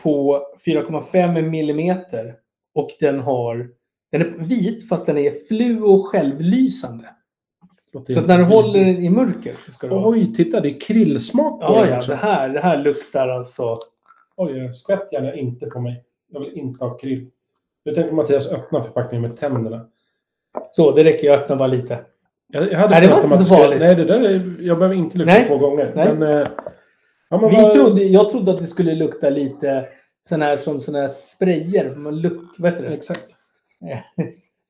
på 4,5 millimeter. Och den har... Den är vit fast den är fluo självlysande. Så att när du håller den i mörker så ska du ha...
Oj, titta. Det är krillsmak på
Ja,
den
ja,
också.
det här, det här luktar alltså...
Oj, skvätt gärna inte på mig. Jag vill inte ha krydd. Nu tänker Mattias öppna förpackningen med tänderna.
Så, det räcker. Jag öppnar bara lite.
Jag, jag hade
Nej, det var
pratat om
inte
att
så
du skulle-
farligt.
Nej, det där är, jag behöver inte lukta
Nej.
två gånger.
Nej.
Men, eh, ja, men
Vi
vad-
trodde, jag trodde att det skulle lukta lite sån här som sån här sprayer. Man luk, vad heter det?
Exakt.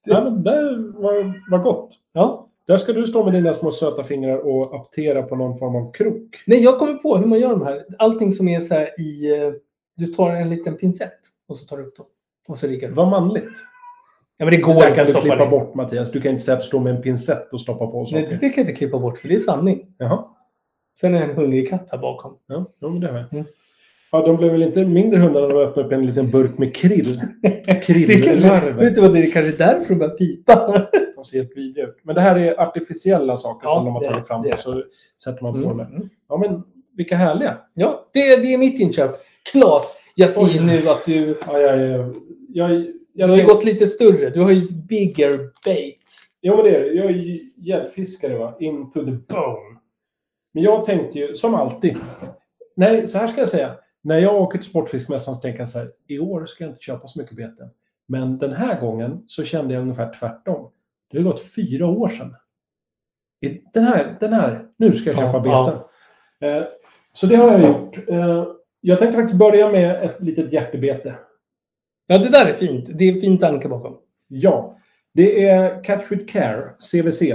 Ja, men det var, var gott.
Ja.
Där ska du stå med dina små söta fingrar och aptera på någon form av krok.
Nej, jag kommer på hur man gör de här. Allting som är så här i... eh, Du tar en liten pincett och så tar du upp dem. Och så riggar du.
Vad manligt.
Ja, men det
Det
går
där
inte
kan
att
du
stoppa
klippa
det. Bort.
bort, Mattias. Du kan inte säga att stå med en pincett och stoppa på
Nej,
saker.
det, det kan jag inte klippa bort för det är sanning.
Jaha.
Sen är en hungrig katt här bakom.
Ja, jo, men det har jag.
Mm.
Ja, de blev väl inte mindre hundar när de öppnade upp en liten burk med krill.
Det är kanske,
Krilllarver.
vet du vad, det är kanske därför de börjar pipa.
De ser helt vidriga ut. Men det här är artificiella saker
Ja,
som de har
det är
tagit fram.
det.
och Så sätter man på
Mm.
med. Ja, men vilka härliga.
Ja, det, det är mitt inköp. Klas, jag ser
Oj.
nu att du,
Ja, jag, jag, jag,
du
jag,
har ju
jag,
gått lite större. Du har ju bigger bait.
Ja, men det är det. Jag är ju gäddfiskare, va. Into the bone. Men jag tänkte ju, som alltid. Nej, så här ska jag säga. När jag åker till Sportfiskmässan så tänker jag så här, i år ska jag inte köpa så mycket beten. Men den här gången så kände jag ungefär tvärtom. Det har gått fyra år sedan. I- Den här, den här, nu ska jag
Ja,
köpa beten. Eh, Så det har jag gjort. Eh, Jag tänkte faktiskt börja med ett litet hjärtebete.
Ja, det där är fint. Det är en fin tanke bakom.
Ja, det är Catch with Care, CVC,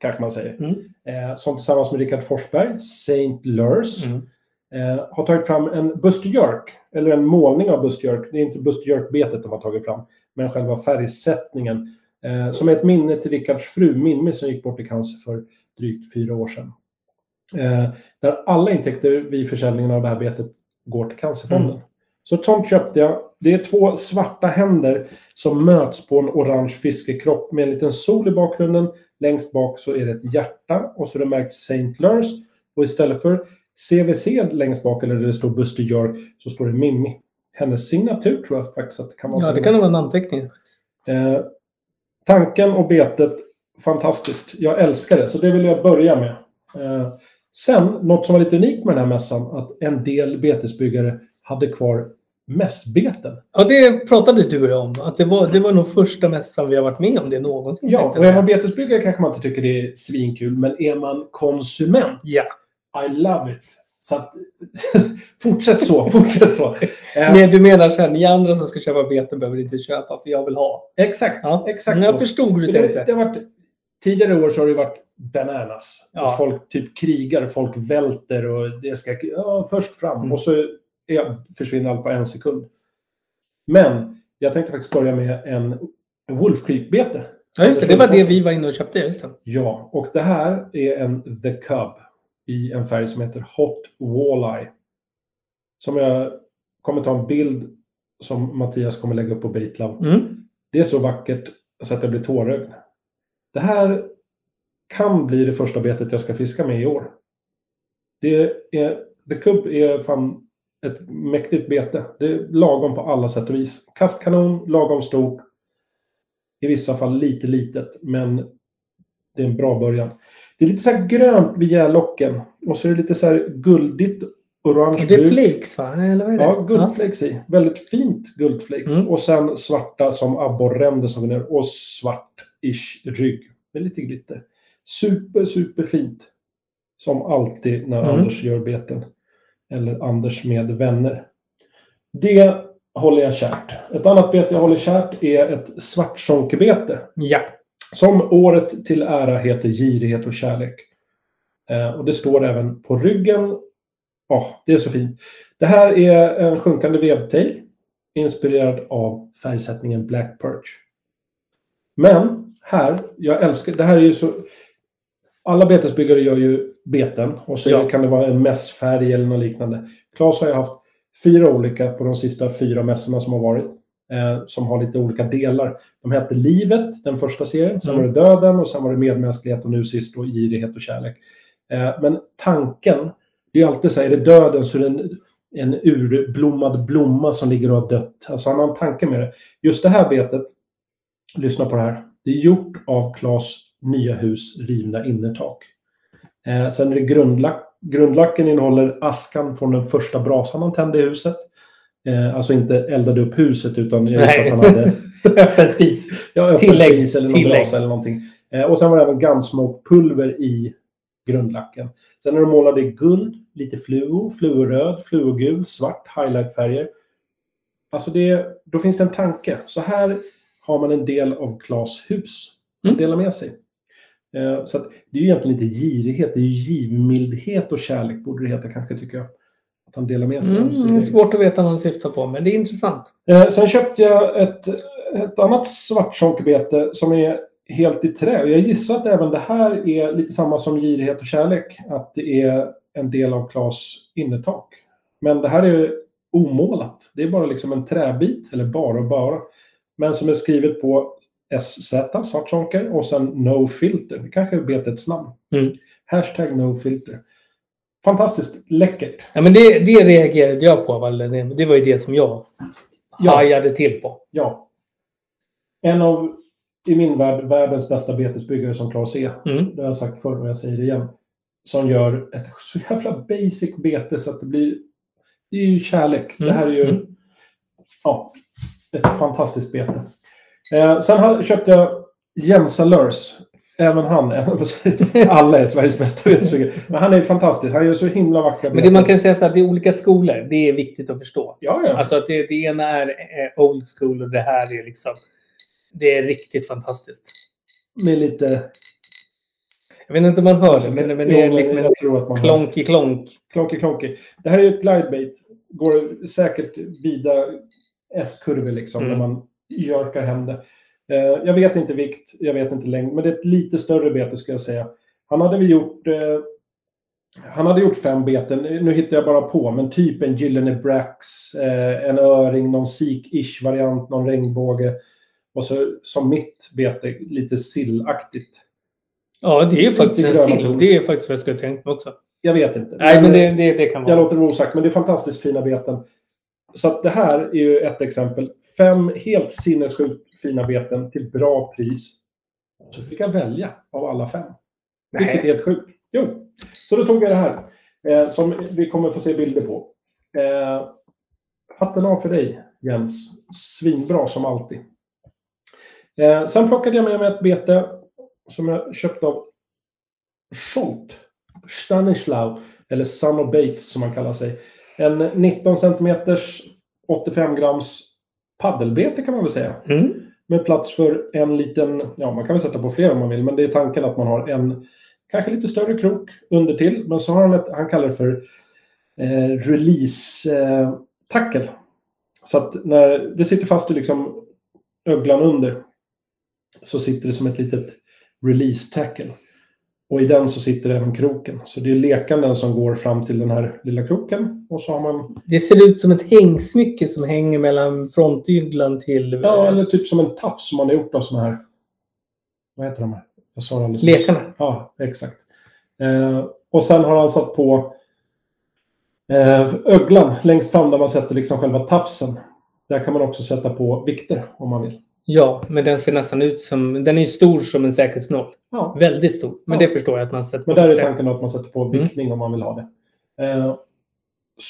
kanske man säger.
Mm.
Eh, som tillsammans med Rickard Forsberg, St. Lurs, eh, har tagit fram en Buster Jerk, eller en målning av Buster Jerk. Det är inte Buster Jerk-betet de har tagit fram, men själva färgsättningen. Eh, som är ett minne till Rickards fru Mimmi som gick bort i cancer för drygt fyra år sedan. Eh, där alla intäkter vid försäljningen av det här betet går till Cancerfonden. Så ett sånt köpte jag. Det är två svarta händer som möts på en orange fiskekropp med en liten sol i bakgrunden. Längst bak så är det ett hjärta och så är det märkt St. Lurs. Och istället för CVC längst bak, eller där det står Buster Jark, så står det Mimmi. Hennes signatur tror jag faktiskt att det kan vara.
Ja, det kan nog vara namnteckningen.
Eh, tanken och betet, fantastiskt. Jag älskar det, så det vill jag börja med. Eh, Sen, något som var lite unikt med den här mässan, att en del betesbyggare hade kvar mässbeten.
Ja, det pratade du och jag om. Att det, var, det var nog första mässan vi har varit med om det någonsin.
Ja,
tänkte
och är
jag.
man betesbyggare kanske man inte tycker det är svinkul, men är man konsument,
ja.
I love it. Så att, fortsätt så, fortsätt så. Eh,
Men du menar så här, ni andra som ska köpa beten behöver inte köpa för jag vill ha.
Exakt,
Ja,
exakt
Men
så.
jag förstod hur du
Det, det,
tänkte.
det har varit, tidigare år så har det ju varit bananas.
Ja.
Att folk typ krigar, folk välter och det ska ja, först fram.
Mm.
Och så är, försvinner allt på en sekund. Men jag tänkte faktiskt börja med en, en Wolf Creek-bete.
Ja, just det. Det var det vi var inne och köpte. Just det.
Ja, och det här är en The Cub i en färg som heter Hot Walleye. Som jag kommer ta en bild som Mattias kommer lägga upp på Baitlab.
Mm.
Det är så vackert så att jag blir tårögd. Det här kan bli det första betet jag ska fiska med i år. Det är, The Cub är fan ett mäktigt bete. Det är lagom på alla sätt och vis. Kastkanon, lagom stort. I vissa fall lite litet, men det är en bra början. Det är lite så här grönt vid gärlocken och så är det lite så här guldigt orange
Det är
brun.
flakes va? Eller vad är det?
Mm. Ja, guldflakes i. Väldigt fint guldflakes.
Mm.
Och sen svarta som abborränder som går ner. Och svart-ish rygg. Med lite glitter. Super, super fint. Som alltid när
Mm.
Anders gör beten. Eller Anders med vänner. Det håller jag kärt. Ett annat bete jag håller kärt är ett svartsonkebete.
Ja.
Som året till ära heter Girighet och kärlek. Eh, och det står även på ryggen. Ja, det är så fint. Det här är en sjunkande vevtail inspirerad av färgsättningen Black Perch. Men här, jag älskar, det här är ju så... Alla betesbyggare gör ju beten och så
Ja.
kan det vara en mässfärg eller något liknande. Claes har ju haft fyra olika på de sista fyra mässorna som har varit. Eh, som har lite olika delar. De hette Livet, den första serien. Sen
Mm.
var det Döden och sen var det Medmänsklighet och nu sist då Girighet och kärlek. Eh, men tanken, det är ju alltid så här, är det döden så är det en, en urblommad blomma som ligger och har dött. Alltså han har en tanke med det. Just det här betet, lyssna på det här. Det är gjort av Klas nya hus rivna innertak. Eh, sen är det grundlack. Grundlacken innehåller askan från den första brasan han tände i huset. Eh, alltså inte eldade upp huset utan jag gissar
Nej.
att han hade
Öppen spis.
Ja, öppen
Tillägg,
spis eller någon
tillägg.
brasa eller någonting. Eh, och sen var det även gunsmoke-pulver i grundlacken. Sen är de målade i guld, lite fluo, fluoröd, fluogul, svart, highlightfärger. Alltså det, då finns det en tanke. Så här har man en del av Klas hus att
Mm.
dela med sig. Eh, så att, det är ju egentligen inte girighet, det är ju givmildhet och kärlek borde det heta kanske tycker jag. Att han delar med sig. av
Mm,
sitt
det är
eget.
svårt att veta vad han syftar på, men det är intressant.
Eh, sen köpte jag ett, ett annat svartsockerbete som är helt i trä. Och Jag gissar att även det här är lite samma som girighet och kärlek. Att det är en del av Klas innertak. Men det här är omålat. Det är bara liksom en träbit, eller bara och bara. Men som är skrivet på SZ, svartsonker, och sen No Filter. Det kanske är betets namn.
Mm.
Hashtag No Filter. Fantastiskt läckert.
Ja, men det, det reagerade jag på. Valle. Det- Det var ju det som jag hajade till på.
Ja. En av, i min värld, världens bästa betesbyggare som Claes är.
Mm.
Det har jag sagt förr och jag säger det igen. Som gör ett så jävla basic bete så att det blir... Det är ju kärlek.
Mm,
Det här är ju...
mm.
Ja. Ett fantastiskt bete. Eh, sen hade, köpte jag Jens Alurs. Även han. även- Alla är Sveriges bästa betesbyggare. Men han är ju fantastisk. Han gör så himla vackra
Men det man kan säga så att det är olika skolor. Det är viktigt att förstå.
Ja, ja.
Alltså att det, det ena är eh, old school och det här är liksom... Det är riktigt fantastiskt.
Med lite...
Jag vet inte om man hör det, men, men det är
Jo,
liksom en
jag tror att man har-
klonky klonk.
Klonky klonky. Det här är ju ett glidebait. Går säkert vida S-kurvor liksom.
Mm.
När man jörkar hem det. Eh, jag vet inte vikt, jag vet inte längd. Men det är ett lite större bete skulle jag säga. Han hade väl gjort... Eh, han hade gjort fem beten. Nu hittar jag bara på. Men typ en gyllene brax, eh, en öring, någon sik-ish variant, någon regnbåge. Och så som mitt bete, lite sillaktigt.
Ja, det är ju faktiskt en
gröna
sill.
ton.
Det är faktiskt vad jag skulle tänkt mig också.
Jag vet inte.
Nej, men det, det, det kan
Jag
vara.
låter det vara osagt, men det är fantastiskt fina beten. Så att det här är ju ett exempel. Fem helt sinnessjukt fina beten till bra pris. Så fick jag välja av alla fem. Vilket är helt sjukt. Jo, så då tog jag det här. Eh, som vi kommer få se bilder på. Eh, hatten av för dig, Jens. Svinbra som alltid. Eh, sen plockade jag med mig ett bete som jag köpte av Scholt. Stanislau, eller Sano Bates som han kallar sig. En 19 centimeters 85 grams paddelbete kan man väl säga.
Mm.
Med plats för en liten, ja man kan väl sätta på fler om man vill, men det är tanken att man har en kanske lite större krok under till. Men så har han ett, han kallar det för eh, release-tackel. så att när det sitter fast i liksom öglan under så sitter det som ett litet release-tackle. Och i den så sitter även kroken. Så det är lekanden som går fram till den här lilla kroken. Och så har man
Det ser ut som ett hängsmycke som hänger mellan frontyglan till eh,
Ja,
ja,
eller typ som en tafs som man har gjort av såna här... Vad heter de här? Jag sa det alldeles nyss.
lekarna.
Ja, exakt. Eh, och sen har han satt på eh, öglan längst fram där man sätter liksom själva tafsen. Där kan man också sätta på vikter om man vill.
Ja, men den ser nästan ut som... Den är ju stor som en säkerhetsnoll.
Ja.
Väldigt stor. Men
Ja.
det förstår jag att man sätter
Men
på
där är
det.
tanken att man sätter på viktning om man vill ha det. Eh,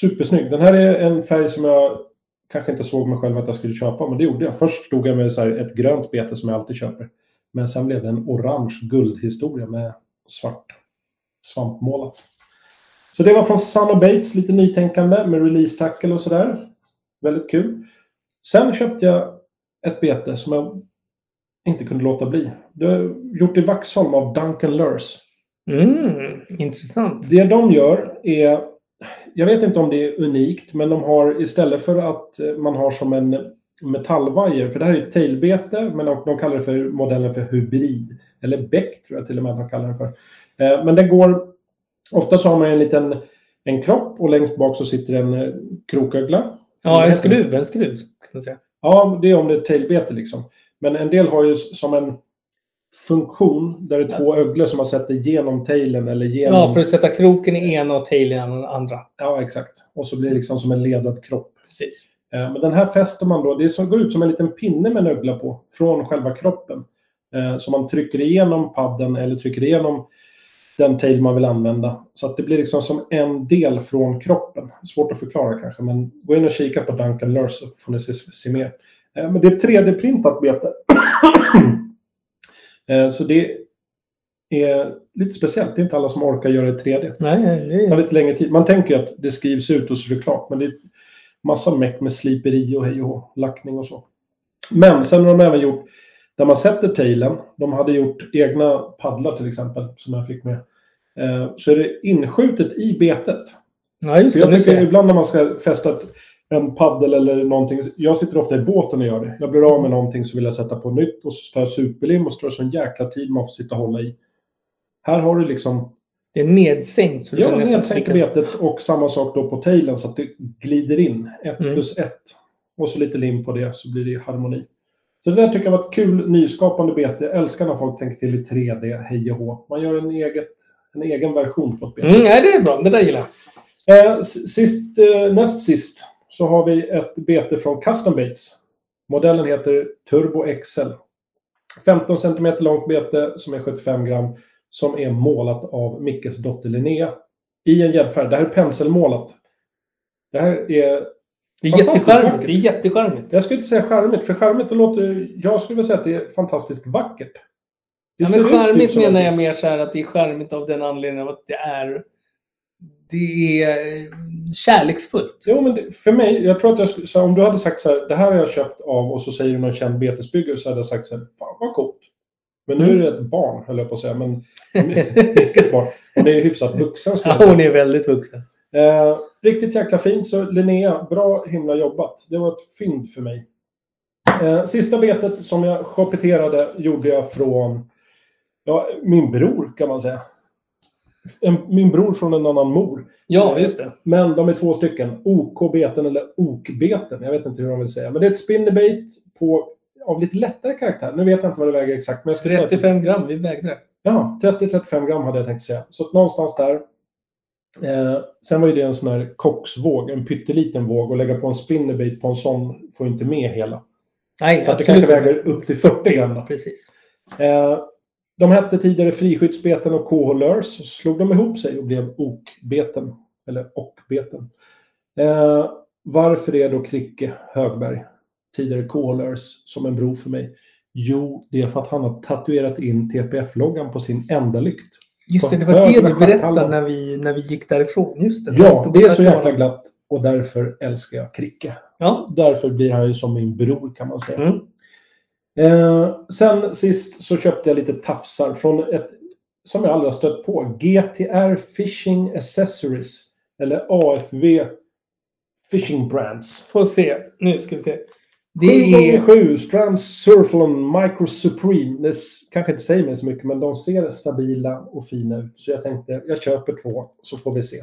supersnygg. Den här är en färg som jag kanske inte såg mig själv att jag skulle köpa, men det gjorde jag. Först tog jag med så här ett grönt bete som jag alltid köper. Men sen blev det en orange guldhistoria med svart svampmålat. Så det var från Sun och Bates, lite nytänkande med release tackle och sådär. Väldigt kul. Sen köpte jag ett bete som jag inte kunde låta bli. Det är gjort i Vaxholm av Duncan Lurs.
Mm, intressant.
Det de gör är, jag vet inte om det är unikt, men de har istället för att eh, man har som en metallvajer, för det här är ett tailbete, men de, de kallar det för modellen för hybrid, eller bäck tror jag till och med att de kallar den för. Eh, men den går, ofta så har man en liten en kropp och längst bak så sitter en eh, krokögla.
Ja,
Vad
en
heter den?
skruv. En skruv, kan man säga.
Ja, det är om det är ett tailbete liksom. Men en del har ju s- som en funktion där det är två öglor som man sätter genom tailen eller genom...
Ja, för att sätta kroken i ena och tailen i den andra.
Ja, exakt. Och så blir det liksom som en ledad kropp.
Precis.
Eh, Men den här fäster man då, det är som, går ut som en liten pinne med en ögla på, från själva kroppen. Eh, Så man trycker igenom padden eller trycker igenom den tail man vill använda. Så att det blir liksom som en del från kroppen. Svårt att förklara kanske, men gå in och kika på Duncan Lurs så får ni se, se mer. Eh, Men det är ett 3D-printat bete. Eh, så det är lite speciellt. Det är inte alla som orkar göra det i 3D.
Nej,
Det tar
det...
lite längre tid. Man tänker ju att det skrivs ut och så är det klart. Men det är massa meck med sliperi och hej och hå, lackning och så. Men sen har de även gjort, där man sätter tailen, de hade gjort egna paddlar till exempel, som jag fick med. Eh, Så är det inskjutet i betet.
ja just
För
det.
jag
Nu
tycker
ser jag.
ibland när man ska fästa ett- en paddel eller någonting. Jag sitter ofta i båten och gör det. Jag blir av med någonting så vill jag sätta på nytt och så tar jag superlim och så tar det sån jäkla tid man får sitta och hålla i. Här har du liksom
Det är nedsänkt. Så du
Ja,
kan nästan
nedsänker
trycka-
betet och samma sak då på tailen så att det glider in. ett
Mm.
plus ett Och så lite lim på det så blir det harmoni. Så det där tycker jag var ett kul nyskapande bete. Jag älskar när folk tänker till i 3D, hej och hå. Man gör en, eget, en egen version på ett bete.
Mm, nej, det är bra. Det där gillar jag.
Eh, s- sist, eh, näst sist så har vi ett bete från Custom Baits. Modellen heter Turbo XL. 15 cm långt bete som är 75 gram som är målat av Mickes dotter Linnea i en gäddfärg. Det här är penselmålat. Det här är...
Det är
Fantastiskt
jättecharmigt.
vackert.
Det är jättecharmigt.
Jag skulle inte säga charmigt, för charmigt det låter... Jag skulle vilja säga att det är fantastiskt vackert. Det
Ja,
ser
men
ut typ
charmigt
som en
menar jag
fisk.
mer så här att det är charmigt av den anledningen att det är... Det är eh, kärleksfullt.
Jo, men det, för mig, jag tror att jag skulle, så här, om du hade sagt så här, det här har jag köpt av och så säger du någon känd betesbyggare så hade jag sagt så här, fan vad coolt. Men nu
Mm.
är det ett barn, höll jag på att säga, men mycket barn. Och det är hyfsat vuxen. skulle jag
Ja, hon är väldigt vuxen.
säga. Eh, riktigt jäkla fint, så Linnea, bra himla jobbat. Det var ett fynd för mig. Eh, sista betet som jag shoppeterade gjorde jag från ja, min bror, kan man säga. En, min bror från en annan mor.
Ja, just det.
Men de är två stycken. OK-beten eller OK-beten. Jag vet inte hur de vill säga. Men det är ett spinnerbait på, av lite lättare karaktär. Nu vet jag inte vad det väger exakt. Men jag skulle säga
35 gram. Vi vägde det.
ja, 30-35 gram hade jag tänkt säga. Så att någonstans där. Eh, sen var ju det en sån här kocksvåg. En pytteliten våg. Och lägga på en spinnerbait på en sån får ju inte med hela.
Nej,
Så att det
absolut
kanske
inte.
väger upp till 40 gram. Då.
Precis.
Eh, De hette tidigare Friskyddsbeten och KH-Lörs. Så slog de ihop sig och blev Okbeten. Eller Ockbeten. Eh, varför är då Kricke Högberg, tidigare KH-Lörs, som en bro för mig? Jo, det är för att han har tatuerat in TPF-loggan på sin enda lykt.
Just det, det var det du berättade när vi, när vi gick därifrån. Just det, när vi
Ja,
stod
det är så
tvärtom.
jäkla glatt och därför älskar jag Kricke.
Ja.
Därför blir han ju som min bror kan man säga.
Mm.
Eh, sen sist så köpte jag lite tafsar från ett som jag aldrig har stött på. GTR Fishing Accessories. Eller AFV Fishing Brands.
Får se. Nu ska vi se. Det är...
7 Strands Surflon Micro Supreme. Det s- kanske inte säger mig så mycket, men de ser stabila och fina ut. Så jag tänkte, jag köper två, så får vi se.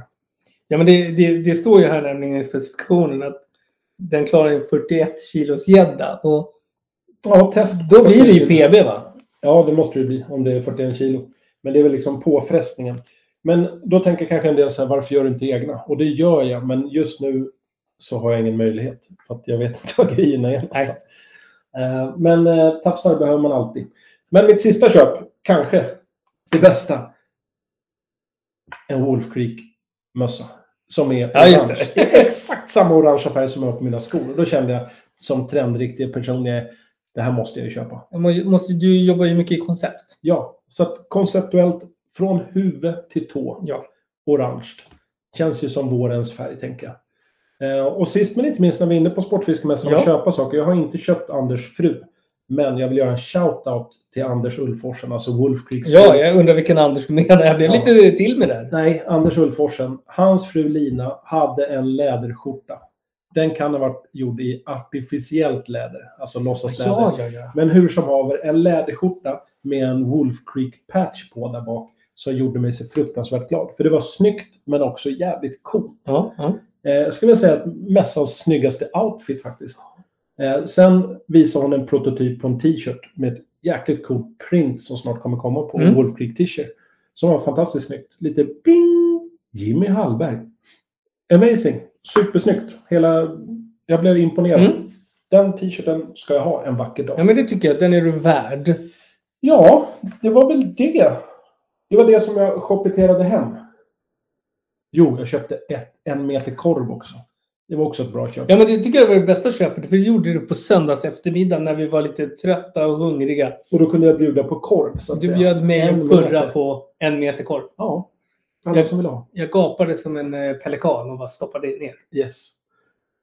Ja, men det, det, det står ju här nämligen i specifikationen att den klarar en 41 kilos gädda. Och
Ja, test.
då blir det ju PB va?
Ja, det måste det bli om det är 41 kilo. Men det är väl liksom påfrestningen. Men då tänker kanske en del så här, varför gör du inte egna? Och det gör jag, men just nu så har jag ingen möjlighet. För att jag vet inte vad grejerna är. någonstans. Eh, Men eh, tafsar behöver man alltid. Men mitt sista köp, kanske det bästa. En Wolf Creek-mössa. Som är
Ja, just
orange.
det.
är exakt samma orangea färg som jag har på mina skor. Och då kände jag som trendriktig person, jag är, det här måste jag ju köpa.
Jag må- Måste, du jobbar ju mycket i koncept.
Ja, så att konceptuellt från huvud till tå,
Ja.
orange. Känns ju som vårens färg, tänker jag. Eh, och sist men inte minst när vi är inne på Sportfiskemässan och
Ja.
köpa saker. Jag har inte köpt Anders fru, men jag vill göra en shout-out till Anders Ulforsen, alltså Wolf Creeks
Ja,
fru.
jag undrar vilken Anders du menar. Jag blev
Ja.
lite till med där.
Nej, Anders Ulforsen. Hans fru Lina hade en läderskjorta. Den kan ha varit gjord i artificiellt läder, alltså låtsasläder.
Ja, ja, ja.
Men hur som haver, en läderskjorta med en Wolf Creek patch på där bak som gjorde mig så fruktansvärt glad. För det var snyggt, men också jävligt coolt.
ja, ja.
Eh, jag skulle vilja säga att mässans snyggaste outfit faktiskt. Eh, sen visade hon en prototyp på en t-shirt med ett jäkligt coolt print som snart kommer komma på
Mm.
en Wolf Creek t-shirt. Som var fantastiskt snyggt. Lite ping! Jimmy Hallberg. Amazing! Supersnyggt! Hela... Jag blev imponerad.
Mm.
Den t-shirten ska jag ha en vacker dag.
ja, men det tycker jag. Den är du värd.
Ja, det var väl det. Det var det som jag shoppeterade hem. Jo, jag köpte ett, en meter korv också. Det var också ett bra köp.
Ja, men det tycker jag var det bästa köpet. För det gjorde du på söndags eftermiddag när vi var lite trötta och hungriga.
Och då kunde jag bjuda på korv, så att
Du
säga.
bjöd mig
En
och Purra
meter.
på en meter korv.
Ja. Alla
Jag-
som vill ha.
Jag gapade som en eh, pelikan och bara stoppade ner.
Yes.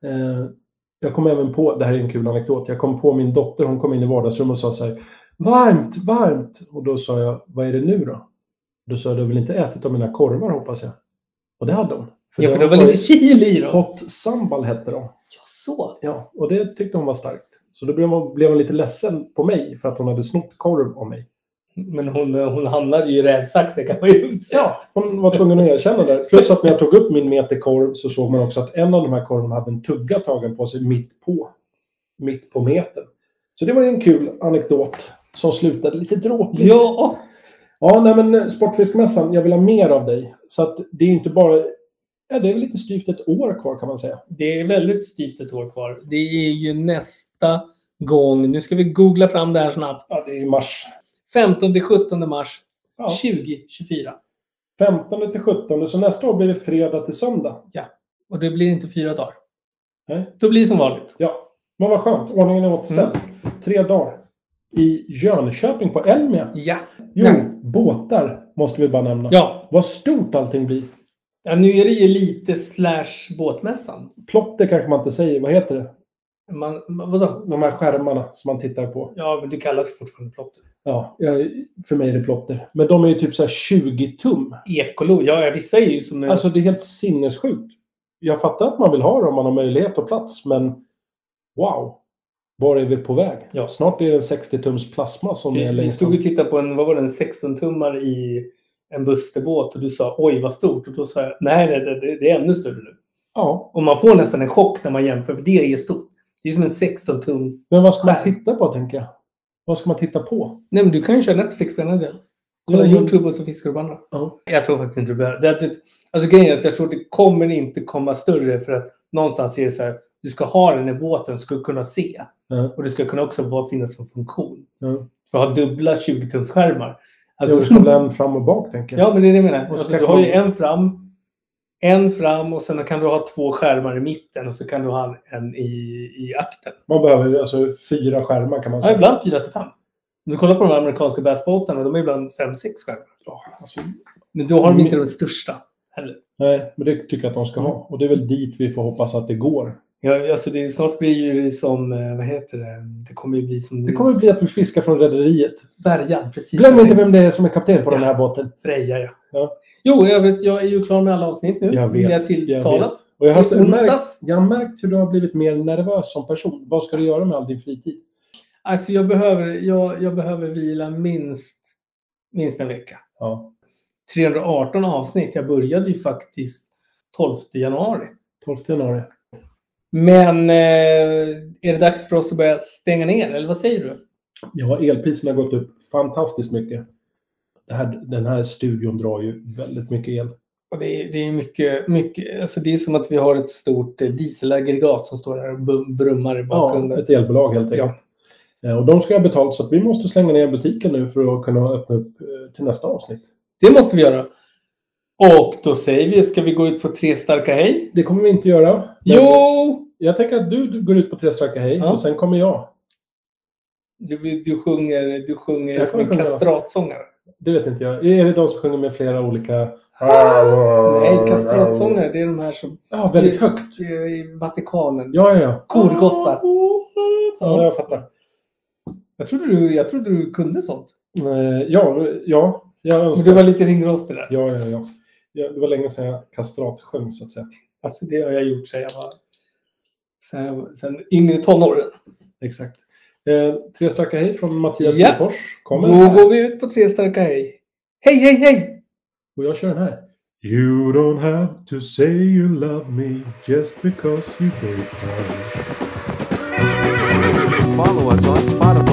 Eh, jag kom även på, det här är en kul anekdot, jag kom på min dotter, hon kom in i vardagsrummet och sa så här Varmt, varmt! Och då sa jag, vad är det nu då? Då sa jag, du har väl inte ätit av mina korvar hoppas jag? Och det hade hon.
ja, för det var lite chili i dem.
Hot sambal hette de.
Ja, så.
Ja, och det tyckte hon var starkt. Så då blev hon, blev hon lite ledsen på mig för att hon hade snott korv av mig.
Men hon, eh, hon hamnade ju i rävsaxen kan man ju lugnt säga.
Ja, hon var tvungen att erkänna det. Plus att när jag tog upp min meter korv så såg man också att en av de här korvarna hade en tugga tagen på sig mitt på. Mitt på metern. Så det var ju en kul anekdot som slutade lite dråpligt.
Ja,
Ja, nej men eh, Sportfiskmässan, jag vill ha mer av dig. Så att det är inte bara... Ja, det är väl lite styvt ett år kvar kan man säga.
det är väldigt styvt ett år kvar. Det är ju nästa gång. Nu ska vi googla fram det här snabbt.
Ja, det är i mars.
15-17 mars
Ja.
2024.
15 till 17, så nästa år blir det fredag till söndag.
Och det blir inte fyra dagar.
Nej.
Då blir det som vanligt.
Ja, men vad skönt. Ordningen är återställd.
Mm.
Tre dagar. I Jönköping på Elmia.
Ja.
Jo,
Nej.
båtar måste vi bara nämna.
Ja.
Vad stort allting blir.
ja, nu är det ju lite slash båtmässan.
Plotter kanske man inte säger. Vad heter det?
Man, man- vadå?
De här skärmarna som man tittar på.
Ja, men du kallas ju fortfarande plotter.
Ja, jag, för mig är det plotter. Men de är ju typ så här 20 tum.
Ekolo. Ja, ja, vissa är ju som...
Alltså det är helt sinnessjukt. Jag fattar att man vill ha det om man har möjlighet och plats, men wow. Var är vi på väg?
Ja.
Snart är det en 60-tums plasma som
vi,
är
vi
längst
stod
fram.
och tittade på en, vad var det, en 16-tummare i en busterbåt och du sa oj vad stort. Och då sa jag nej, nej det, det- det är ännu större nu.
Ja,
Och man får nästan en chock när man jämför för det är stort. Det är som en 16-tums...
Men vad ska man
Skärm.
titta på, tänker jag? Vad ska man titta på?
Nej men du kan ju köra Netflix på ena delen. Kolla
Mm.
YouTube och så fiskar du på andra.
Ja.
Jag tror faktiskt inte du behöver. Det är att det, alltså grejen är att jag tror det kommer inte komma större för att någonstans är det så här. Du ska ha den i båten, ska kunna se.
Ja.
Och det ska kunna också vara, finnas som funktion.
Ja.
För att ha dubbla 20-tumsskärmar.
Alltså, du ska ha en fram och bak, tänker jag.
Ja, men det är det jag menar.
Och så
Alltså,
kanske
du har ju
man-
en fram, en fram och sen kan du ha två skärmar i mitten och så kan du ha en i, i akten.
Man behöver ju alltså fyra skärmar, kan man
Ja,
säga.
ibland fyra till fem. Om du kollar på de amerikanska bassbåtarna, de är ibland fem, sex skärmar.
Ja, alltså,
Men då har de
Mm.
inte de största heller.
nej, men det tycker jag att de ska
Mm.
ha. Och det är väl dit vi får hoppas att det går.
Ja, alltså det, snart blir ju det som, eh, vad heter det, det kommer ju bli som
Det kommer bli att vi fiskar från rederiet.
färjan. Precis
Glöm
som
inte
det-
vem det är som är kapten på den
Ja.
här båten.
Freja, ja.
Ja.
Jo, i övrigt, jag är ju klar med alla avsnitt nu.
Jag vet,
Vill jag tilltala.
jag Och jag,
I
har märkt,
onsdags.
jag har märkt hur du har blivit mer nervös som person. Vad ska du göra med all din fritid?
Alltså jag behöver, jag, jag behöver vila minst, minst en vecka.
Ja,
318 avsnitt. Jag började ju faktiskt 12 januari.
12 januari.
Men eh, är det dags för oss att börja stänga ner? Eller vad säger du?
Ja, elpriserna har gått upp fantastiskt mycket. Det här, den här studion drar ju väldigt mycket el.
Och det, är, det är mycket, mycket alltså det är som att vi har ett stort eh, dieselaggregat som står här och bum- brummar i
Ja,
bakgrunden.
ett elbolag helt enkelt. Eh, Och de ska ha betalt så att vi måste slänga ner butiken nu för att kunna öppna upp eh, till nästa avsnitt.
Det måste vi göra. Och då säger vi, ska vi gå ut på tre starka hej?
Det kommer vi inte göra. Men
Jo!
Jag tänker att du, du går ut på tre starka hej
Ja.
och sen kommer jag.
Du, du sjunger, du sjunger
Jag
som en
kommer sjunga.
kastratsångare.
Det vet inte jag. Är det de som sjunger med flera olika...
Nej, kastratsångare, det är de här som
Ja, väldigt högt.
eh, i Vatikanen.
Ja, ja, ja.
Korgossar.
Ja, jag fattar.
Jag trodde du, jag trodde du kunde sånt.
Eh, Ja, ja. Jag
Men
önskar...
du var lite ringrostig där.
Ja, ja, ja. ja. Det var länge sedan jag kastratsjöng, så att säga.
Alltså det har jag gjort sen jag var... Sen, jag var- sen yngre tonåren.
Exakt. Eh, tre starka hej från Mattias
Ja.
Lindfors.
Då
Kommer här.
går vi ut på tre starka hej. Hej, hej, hej!
Och jag kör den här. You don't have to say you love me just because you hate me.
Follow us on Spotify.